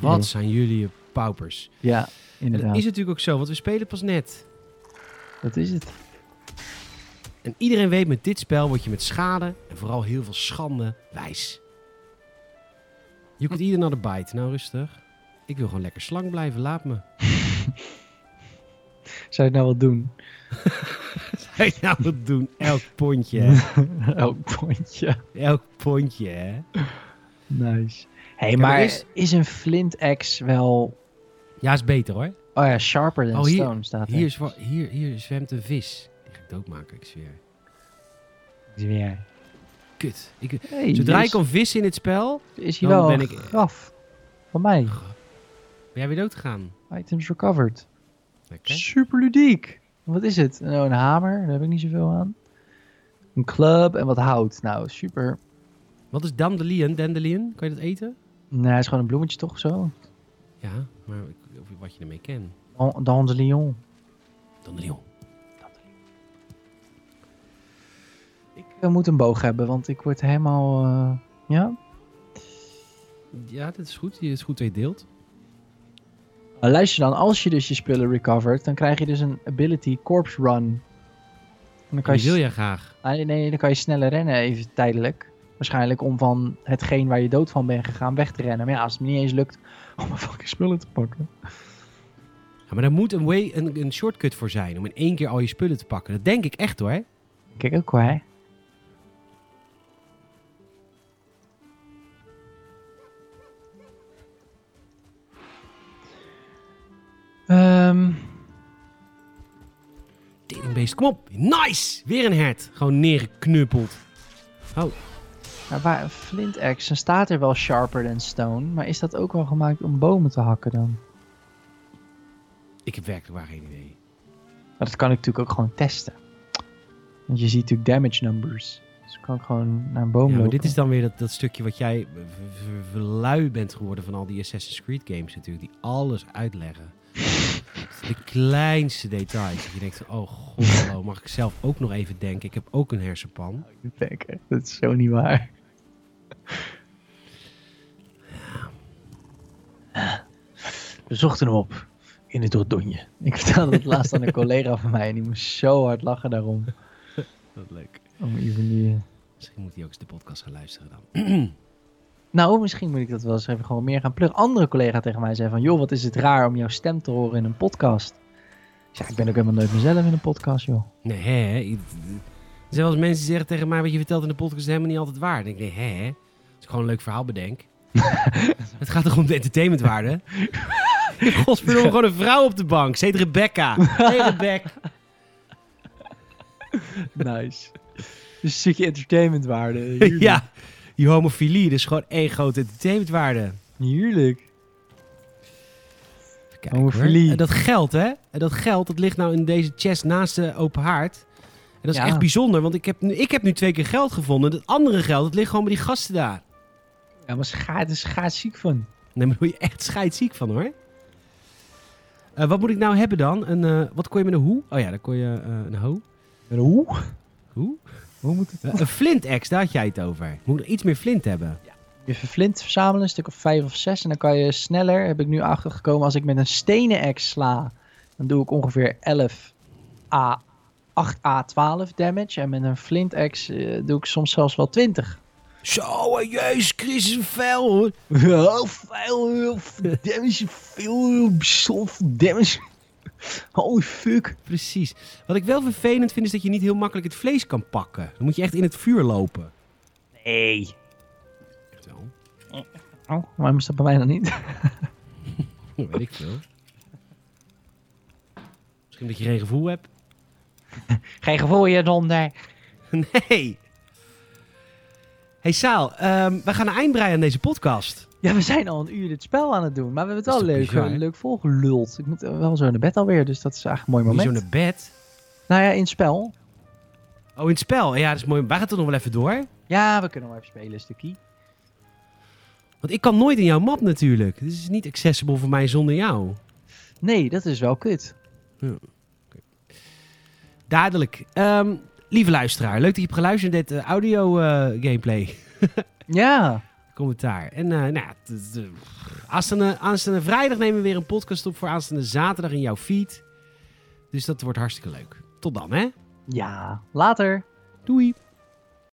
Speaker 2: Wat
Speaker 1: Nee.
Speaker 2: zijn jullie paupers?
Speaker 1: Ja,
Speaker 2: En
Speaker 1: inderdaad.
Speaker 2: dat is natuurlijk ook zo, want we spelen pas net.
Speaker 1: Dat is het.
Speaker 2: En iedereen weet, met dit spel word je met schade en vooral heel veel schande wijs. Je kunt ieder naar de bite. Nou, rustig. Ik wil gewoon lekker slank blijven, laat me. [laughs]
Speaker 1: Zou je het nou wel
Speaker 2: [laughs]
Speaker 1: doen?
Speaker 2: Hey, nou, wat doen? Elk
Speaker 1: [laughs]
Speaker 2: pondje, hè?
Speaker 1: Elk
Speaker 2: Oh,
Speaker 1: pontje.
Speaker 2: Elk pondje, hè?
Speaker 1: Nice. Hé, hey,
Speaker 2: maar
Speaker 1: maar
Speaker 2: is-
Speaker 1: is... een flint axe wel...
Speaker 2: Ja, is beter, hoor.
Speaker 1: Oh ja, sharper than
Speaker 2: Oh, hier-
Speaker 1: stone staat er.
Speaker 2: Hier, is wa- hier, hier zwemt een vis. Die ga ik doodmaken, ik zweer.
Speaker 1: Is weer.
Speaker 2: Kut. Ik,
Speaker 1: Hey,
Speaker 2: zodra
Speaker 1: dus
Speaker 2: ik een vis in het spel,
Speaker 1: is hier
Speaker 2: dan
Speaker 1: wel
Speaker 2: ben
Speaker 1: een
Speaker 2: ik-
Speaker 1: graf. Van mij.
Speaker 2: ben jij weer doodgegaan.
Speaker 1: Items recovered.
Speaker 2: Lekker.
Speaker 1: Super ludiek. Wat is het? Nou, een hamer. Daar heb ik niet zoveel aan. Een club en wat hout. Nou, super.
Speaker 2: Wat is dandelion? Dandelion? Kan je dat eten?
Speaker 1: Nee, het is gewoon een bloemetje toch zo?
Speaker 2: Ja, maar ik- of wat je ermee kent.
Speaker 1: Dan- Dandelion.
Speaker 2: Dandelion.
Speaker 1: Ik eh, moet een boog hebben, want ik word helemaal... eh, Ja?
Speaker 2: Ja, dat is goed. Je is goed twee deelt.
Speaker 1: Maar Nou, luister dan, als je dus je spullen recovert, dan krijg je dus een ability Corpse Run. En dan kan
Speaker 2: Die wil
Speaker 1: je,
Speaker 2: je graag.
Speaker 1: nee, Ah, nee, dan kan je sneller rennen, even tijdelijk. Waarschijnlijk om van hetgeen waar je dood van bent gegaan weg te rennen. Maar ja, als het me niet eens lukt om mijn fucking spullen te pakken.
Speaker 2: Ja, maar daar moet een, way, een, een shortcut voor zijn om in één keer al je spullen te pakken. Dat denk ik echt hoor.
Speaker 1: Kijk ook wel, hè. Ehm,
Speaker 2: Teringbeest, kom op. Nice! Weer een hert. Gewoon neergeknuppeld.
Speaker 1: maar nou, waar, flint axe, dan staat er wel sharper dan stone. Maar is dat ook wel gemaakt om bomen te hakken dan?
Speaker 2: Ik heb werkelijk waar geen idee.
Speaker 1: Maar dat kan ik natuurlijk ook gewoon testen. Want je ziet natuurlijk damage numbers. Dus kan ik gewoon naar een boom
Speaker 2: Ja, maar
Speaker 1: lopen.
Speaker 2: dit is dan weer dat, dat stukje wat jij v- v- v- lui bent geworden van al die Assassin's Creed games natuurlijk. Die alles uitleggen. [laughs] De kleinste details. Dat je denkt, oh god, hallo, mag ik zelf ook nog even denken? Ik heb ook een hersenpan.
Speaker 1: Bekken, [laughs] Dat is zo niet waar. We zochten hem op in het Dordogne. Ik vertelde het laatst aan een collega van mij en die moest zo hard lachen daarom.
Speaker 2: Wat leuk.
Speaker 1: Om even die...
Speaker 2: Misschien moet hij ook eens de podcast gaan luisteren dan.
Speaker 1: Nou, misschien moet ik dat wel eens even gewoon meer gaan pluggen. Andere collega tegen mij zei van, joh, wat is het raar om jouw stem te horen in een podcast. Ik zeg, ik ben ook helemaal nooit mezelf in een podcast, joh.
Speaker 2: Nee, hè? Ik- Er zijn wel eens mensen die zeggen tegen mij... wat je vertelt in de podcast is helemaal niet altijd waar. Dan denk ik, nee, hè? Als ik gewoon een leuk verhaal
Speaker 1: [laughs]
Speaker 2: bedenk. het gaat toch om de entertainmentwaarde? Godverdomme, gewoon een vrouw op de bank. Ze heet Rebecca. Hey,
Speaker 1: [laughs]
Speaker 2: Rebecca.
Speaker 1: Nice. Dus een stukje entertainmentwaarde. eh, [laughs] Heerlijk.
Speaker 2: ja, die homofilie. Dat is gewoon één grote entertainmentwaarde.
Speaker 1: Heerlijk.
Speaker 2: Even kijken,
Speaker 1: Homofilie.
Speaker 2: hoor. En dat geld, hè? En dat geld, dat ligt nou in deze chest naast de open haard. En dat is
Speaker 1: Ja.
Speaker 2: echt bijzonder, want ik heb, nu, ik heb nu twee keer geld gevonden. Dat andere geld, dat ligt gewoon bij die gasten daar.
Speaker 1: Ja, maar scha het is schaatsziek van.
Speaker 2: Nee, maar daar word je echt scheidziek van hoor. Eh, wat moet ik nou hebben dan? Een, eh, wat kon je met een hoe? Oh ja, dan kon je eh, een hoe.
Speaker 1: Hoe?
Speaker 2: Hoe?
Speaker 1: Hoe moet het?
Speaker 2: Eh, een flintex, daar had jij het over. Moet er iets meer flint hebben.
Speaker 1: Je verflint verzamelen, een stuk of vijf of zes. En dan kan je sneller, heb ik nu achtergekomen, als ik met een stenen axe sla. Dan doe ik ongeveer 11 A, 8 A 12 damage. En met een flint axe eh, doe ik soms zelfs wel 20.
Speaker 2: Zo, eh, jezus, Christus, een vuil hoor.
Speaker 1: Heel veel, heel veel damage, veel, heel veel damage. Holy fuck.
Speaker 2: Precies. Wat ik wel vervelend vind, is dat je niet heel makkelijk het vlees kan pakken. Dan moet je echt in het vuur lopen.
Speaker 1: Nee.
Speaker 2: Echt wel.
Speaker 1: Oh, waarom is dat bij mij dan niet?
Speaker 2: [laughs] Weet ik veel. Misschien dat je geen gevoel hebt.
Speaker 1: Geen gevoel hier, donder.
Speaker 2: [laughs] Nee. Hey Saal, ehm, we gaan een eind breien aan deze podcast.
Speaker 1: Ja, we zijn al een uur dit spel aan het doen, maar we hebben het wel
Speaker 2: Dat is
Speaker 1: leuk,
Speaker 2: toch bizar,
Speaker 1: eh,
Speaker 2: hè?
Speaker 1: leuk volgeluld. Ik moet eh, wel zo naar bed alweer, dus dat is eigenlijk een mooi
Speaker 2: Niet zo
Speaker 1: moment.
Speaker 2: naar bed.
Speaker 1: Nou ja, in het spel.
Speaker 2: Oh, in het spel. Ja, dat is mooi. Wij gaan toch nog wel even door.
Speaker 1: Ja, we kunnen wel even spelen, is de key.
Speaker 2: Want ik kan nooit in jouw map natuurlijk. Dit is niet accessible voor mij zonder jou.
Speaker 1: Nee, dat is wel kut.
Speaker 2: Dadelijk. Ehm, lieve luisteraar, leuk dat je hebt geluisterd naar dit eh, audio eh, gameplay [laughs]
Speaker 1: Ja,
Speaker 2: commentaar. En eh, nou, ja, t- t- aanstaande, aanstaande vrijdag nemen we weer een podcast op voor aanstaande zaterdag in jouw feed. Dus dat wordt hartstikke leuk. Tot dan, hè?
Speaker 1: ja. Later.
Speaker 2: Doei.